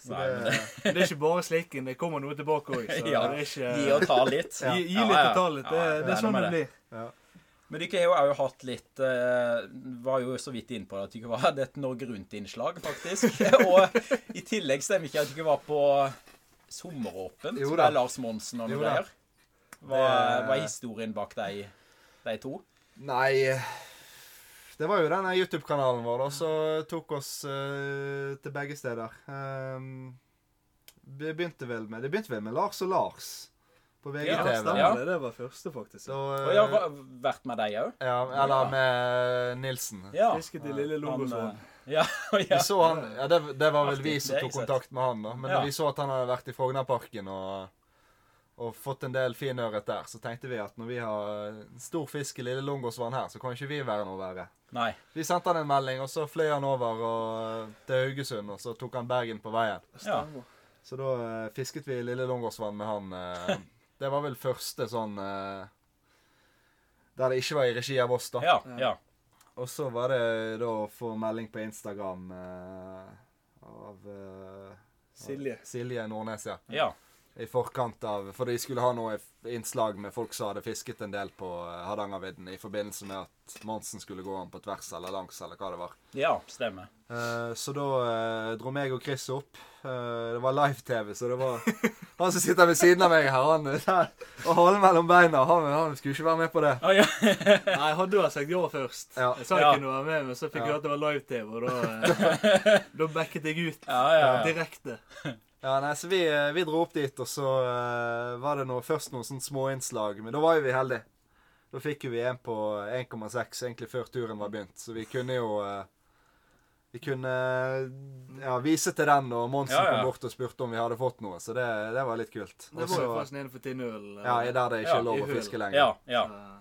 S2: Så
S1: Nei, men
S2: det,
S3: Men Det er ikke bare slikken, det kommer noe tilbake òg. Så
S1: Ja.
S3: det er ikke
S1: Gi og ta litt.
S3: Gi, gi
S1: Ja,
S3: litt
S1: ja.
S3: og ta litt. Det,
S1: Ja,
S3: det er
S1: noe
S3: sånn
S1: med
S3: det blir.
S2: ja.
S1: Men dere har jo òg hatt litt eh, Var jo så vidt inne på det at dere hadde et Norge Rundt-innslag, faktisk. og i tillegg stemmer ikke at dere var på Sommeråpent
S2: Jo da.
S1: med Lars Monsen og
S2: Jo
S1: noe
S2: da.
S1: greier. Hva,
S2: Det-
S1: hva er historien bak de, de to?
S2: Nei eh, Det var jo denne YouTube-kanalen vår da, som tok oss eh, til begge steder. Ehm, det, begynte vel med, det begynte vel med Lars og Lars på
S1: Ja,
S3: Ja,
S2: VGTV.
S3: stemmer
S1: Ja.
S3: det. Det var første, faktisk.
S2: Så,
S1: Og jeg
S2: eh,
S1: har vært med deg òg.
S2: ja, eller med Nilsen.
S1: Ja.
S3: Fisket i lille Lungosvåg.
S1: Han, eh, ja,
S2: Vi
S1: ja.
S2: så han, ja, det, det var vel
S1: Artig,
S2: vi som
S1: det har
S2: tok
S1: jeg sett.
S2: kontakt med han, da. Men
S1: Ja.
S2: når vi så at han hadde vært i Frognerparken og, og fått en del finøret der, så tenkte vi at når vi har stor fisk i Lille Lungåsvann her, så kan ikke vi være noe verre.
S1: Nei.
S2: Vi sendte han en melding, og så fløy han over og, til Haugesund, og så tok han Bergen på veien.
S1: Ja.
S3: Stemmer.
S2: Så da eh, fisket vi i Lille Lungåsvann med han. eh, det var vel første sånn eh, Der det ikke var i regi av oss, da.
S1: Ja. ja.
S2: Og så var det da å få melding på Instagram eh, av eh,
S3: Silje.
S2: Silje Nordnes, ja.
S1: ja.
S2: I forkant av For de skulle ha noe f- innslag med folk som hadde fisket en del på eh, Hardangervidda i forbindelse med at Monsen skulle gå an på tvers eller langs eller hva det var.
S1: Ja, stemmer.
S2: Eh, så da eh, dro meg og Chris opp. Eh, det var live-TV, så det var Han som sitter ved siden av meg her, han eh, der, og holder mellom beina, han, han skulle ikke være med på det.
S1: Å, ja.
S3: Nei, jeg hadde jo sagt ja først.
S2: Ja.
S3: Jeg sa
S1: Ja.
S3: ikke noe med, men så fikk
S2: Ja.
S3: jeg høre at det var live-TV, og da, eh, da backet jeg ut
S1: Ja, ja, ja.
S3: direkte.
S2: Ja, nei, så vi, eh, sånn vi dro opp dit, og så eh, var det noe, først noen sånne småinnslag. Men da var jo vi heldige. Da Da fikk jo vi en på 1,6 egentlig før turen var begynt, så vi kunne jo eh, Vi kunne eh, ja, vise til den, og Monsen
S1: Ja, ja.
S2: kom bort og spurte om vi hadde fått noe, så det, det var litt kult.
S3: Det var jo
S2: Også,
S3: faktisk nedenfor Tinnøl. eh,
S2: ja, der det ikke
S1: Ja,
S2: er lov
S3: i
S2: å
S3: hull.
S2: fiske lenger.
S1: Ja, ja.
S3: eh,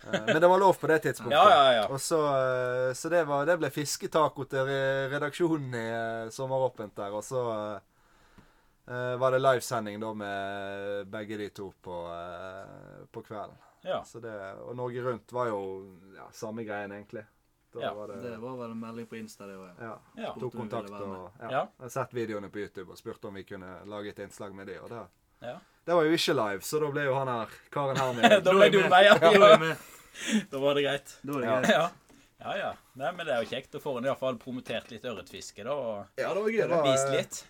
S2: Eh, Men det var lov på det tidspunktet.
S1: Ja, ja, ja.
S2: Og så, eh, så det, var, det ble fisketaco til re- redaksjonen i eh, sommeråpent der. Og så eh, eh, var det livesending da med begge de to på, eh, på kvelden.
S1: ja.
S2: Så det, og Norge Rundt var jo ja, samme greien, egentlig. Da
S1: Ja,
S2: var
S3: Det
S2: det,
S3: var vel en melding på Insta, det òg.
S2: ja,
S1: ja.
S2: Tok kontakt og ja,
S1: Ja.
S2: Jeg har sett videoene på YouTube og spurte om vi kunne lage et innslag med de, og det,
S1: Ja.
S2: det var jo ikke live, så da ble jo han her, karen her med
S1: Da ble du med, ja.
S3: Da er jeg med.
S1: Da var det greit.
S3: Da er det
S2: Ja.
S3: greit.
S1: Ja. ja, ja. Nei, men det er jo kjekt. Da får en iallfall promotert litt ørretfiske, da. Og
S2: Ja, det var eh, gøy.
S1: får en vist litt.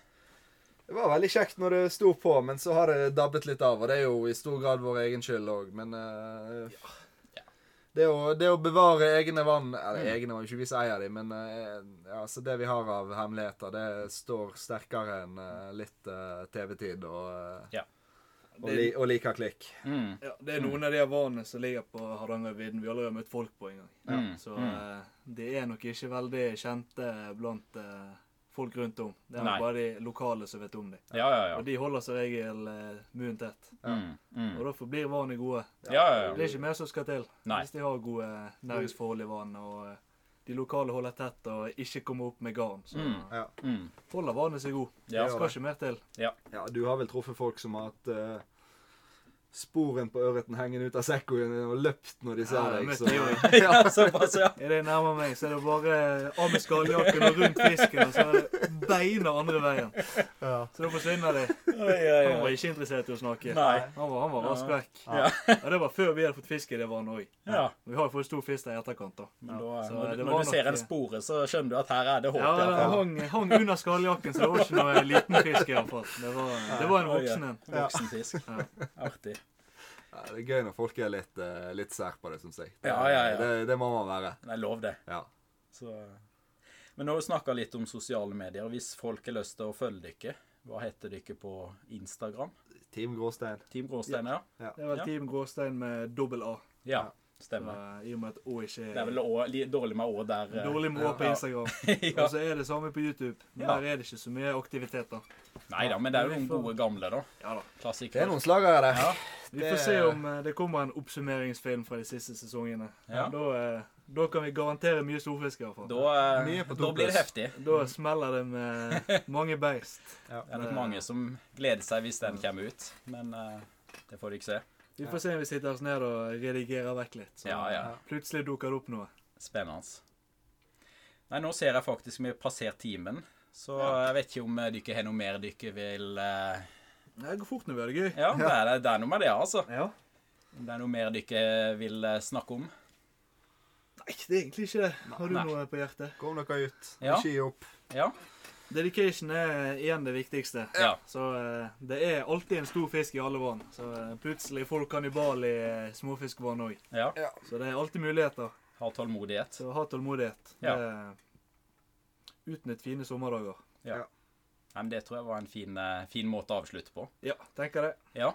S2: Det var veldig kjekt når det sto på, men så har det dabbet litt av. Og det er jo i stor grad vår egen skyld òg, men eh, det, å, det å bevare egne vann Eller egne var jo ikke vi som eier de, men eh, ja, altså det vi har av hemmeligheter, det står sterkere enn eh, litt eh, TV-tid og, eh,
S1: Ja.
S2: og, li, og lika klikk.
S1: Mm.
S3: Ja, det er noen av de vannene som ligger på Hardangervidda vi aldri har møtt folk på engang.
S1: Mm.
S3: Så eh, de er nok ikke veldig kjente blant eh, folk rundt om. Det er
S1: Nei.
S3: nok bare de lokale som vet om dem.
S1: Ja, ja, ja.
S3: Og de holder som regel eh, munnen tett.
S1: Mm. Mm.
S3: Og da forblir vannet gode.
S1: Ja, ja,
S3: Det
S1: ja.
S3: er ikke mer som skal til
S1: Nei.
S3: hvis de har gode eh, næringsforhold i vannet. og eh, de lokale holder tett og ikke kommer opp med garn. Så
S1: Mm.
S2: Ja.
S1: Mm.
S3: holder vannet seg god.
S1: Ja.
S3: det skal ikke mer til.
S2: ja, du har vel truffet folk som har hatt eh, sporen på ørreten hengende ut av sekken og løpt når de
S3: Ja,
S2: ser
S3: jeg
S2: deg.
S3: møtte
S2: Så,
S3: jo en.
S1: Ja, såpass, ja.
S3: Er det nærmer meg, så er det bare av med skalljakken og rundt fisken, og så er det beina andre veien.
S2: Ja.
S3: Så da forsvinner de.
S1: Oi, oi,
S3: Han var
S1: oi.
S3: ikke interessert i å snakke.
S1: Nei.
S3: Han var, han var rask vekk.
S1: Ja.
S3: Og det var før vi hadde fått fisk i det vannet òg.
S1: Ja.
S3: Vi har jo fått stor fisk der i etterkant, da.
S1: Men da,
S3: Så
S1: når
S3: det
S1: du,
S3: var
S1: når du ser
S3: nok-
S1: en spore, så skjønner du at her er det håp.
S3: Ja,
S1: i hvert
S3: den
S1: fall.
S3: hang, hang under skalljakken, så det var ikke noe liten fisk i hvert fall. Det var, det var en
S1: Oi,
S3: voksen en.
S1: ja. Voksen fisk.
S3: Ja.
S1: Artig.
S2: Ja, det er gøy når folk er litt, eh, litt sær på det, syns jeg. Det,
S1: Ja, ja, ja.
S2: Det, det må man være.
S1: Nei, lov det.
S2: Ja.
S1: Så. Men nå har vi snakka litt om sosiale medier. Hvis folk har lyst til å følge dere, hva heter dere på Instagram?
S2: Team Gråstein.
S1: Team Gråstein, ja?
S3: Det var
S1: Ja.
S3: Team Gråstein med dobbel A.
S1: Ja,
S3: Det
S1: stemmer.
S3: var, I og med at Å ikke
S1: Det er vel å, li, dårlig med å der. eh.
S3: Dårlig med Å på
S1: Ja.
S3: Instagram.
S1: Ja.
S3: Og så er det samme på YouTube. Men
S1: Ja.
S3: der er det ikke så mye aktivitet, da.
S1: Nei da, men det er jo noen gode gamle, da.
S3: Ja da.
S2: Det er
S1: Klassikere.
S2: noen slagere der.
S1: Ja.
S3: Vi
S2: Det-
S3: får se om eh, det kommer en oppsummeringsfilm fra de siste sesongene.
S1: Ja.
S3: Da, eh, da kan vi garantere mye storfiske, i hvert fall.
S1: Da, eh,
S2: Mye på to
S1: da blir det
S2: pluss.
S1: heftig.
S3: Da smeller det med mange beist.
S1: Det er nok mange som gleder seg hvis den kommer ut, men eh, det får de ikke se.
S3: Vi får se om vi sitter oss ned og redigerer vekk litt. Så
S1: Ja, ja.
S3: plutselig dukker det opp noe.
S1: Spennende. Nei, nå ser jeg faktisk vi har passert timen, så jeg vet ikke om eh, dere har noe mer dere vil eh,
S3: Det går fort når vi har det gøy.
S1: Ja, det er, det er noe med det, altså.
S3: Ja.
S1: Om det er noe mer dere vil eh, snakke om.
S3: Nei, det er egentlig ikke det. Har du
S1: Nei.
S3: noe på hjertet?
S2: Kom dere ut.
S1: Ja.
S2: Ski opp.
S1: Ja.
S3: Dedication er igjen det viktigste.
S1: ja.
S3: Så eh, det er alltid en stor fisk i alle vann. Så eh, plutselig får du kannibal i eh, småfiskvann òg.
S1: ja.
S3: Så det er alltid muligheter.
S1: Ha tålmodighet.
S3: Så ha tålmodighet.
S1: Ja.
S3: Det, utnytt fine sommerdager.
S1: Nei, men det tror jeg var en fin, eh, fin måte å avslutte på.
S3: Ja, tenker det.
S1: Ja.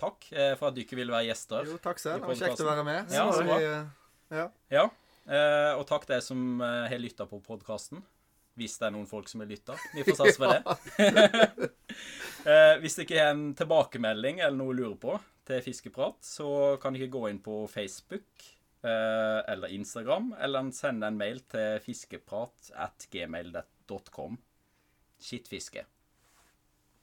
S1: Takk eh, for at dere ville være gjester.
S2: Jo, takk
S1: I
S2: selv. Det var kjekt å
S1: podcasten.
S2: være med.
S1: Ja,
S2: Så
S1: så
S2: vi, eh,
S1: Ja. Eh, og takk deg som eh, har lytta på podkasten. Hvis det er noen folk som har lytta. Vi får satse på det. eh, hvis dere har en tilbakemelding eller noe å lure på til Fiskeprat, så kan dere gå inn på Facebook eh, eller Instagram, eller sende en mail til fiskeprat at gmail.com. Skittfiske.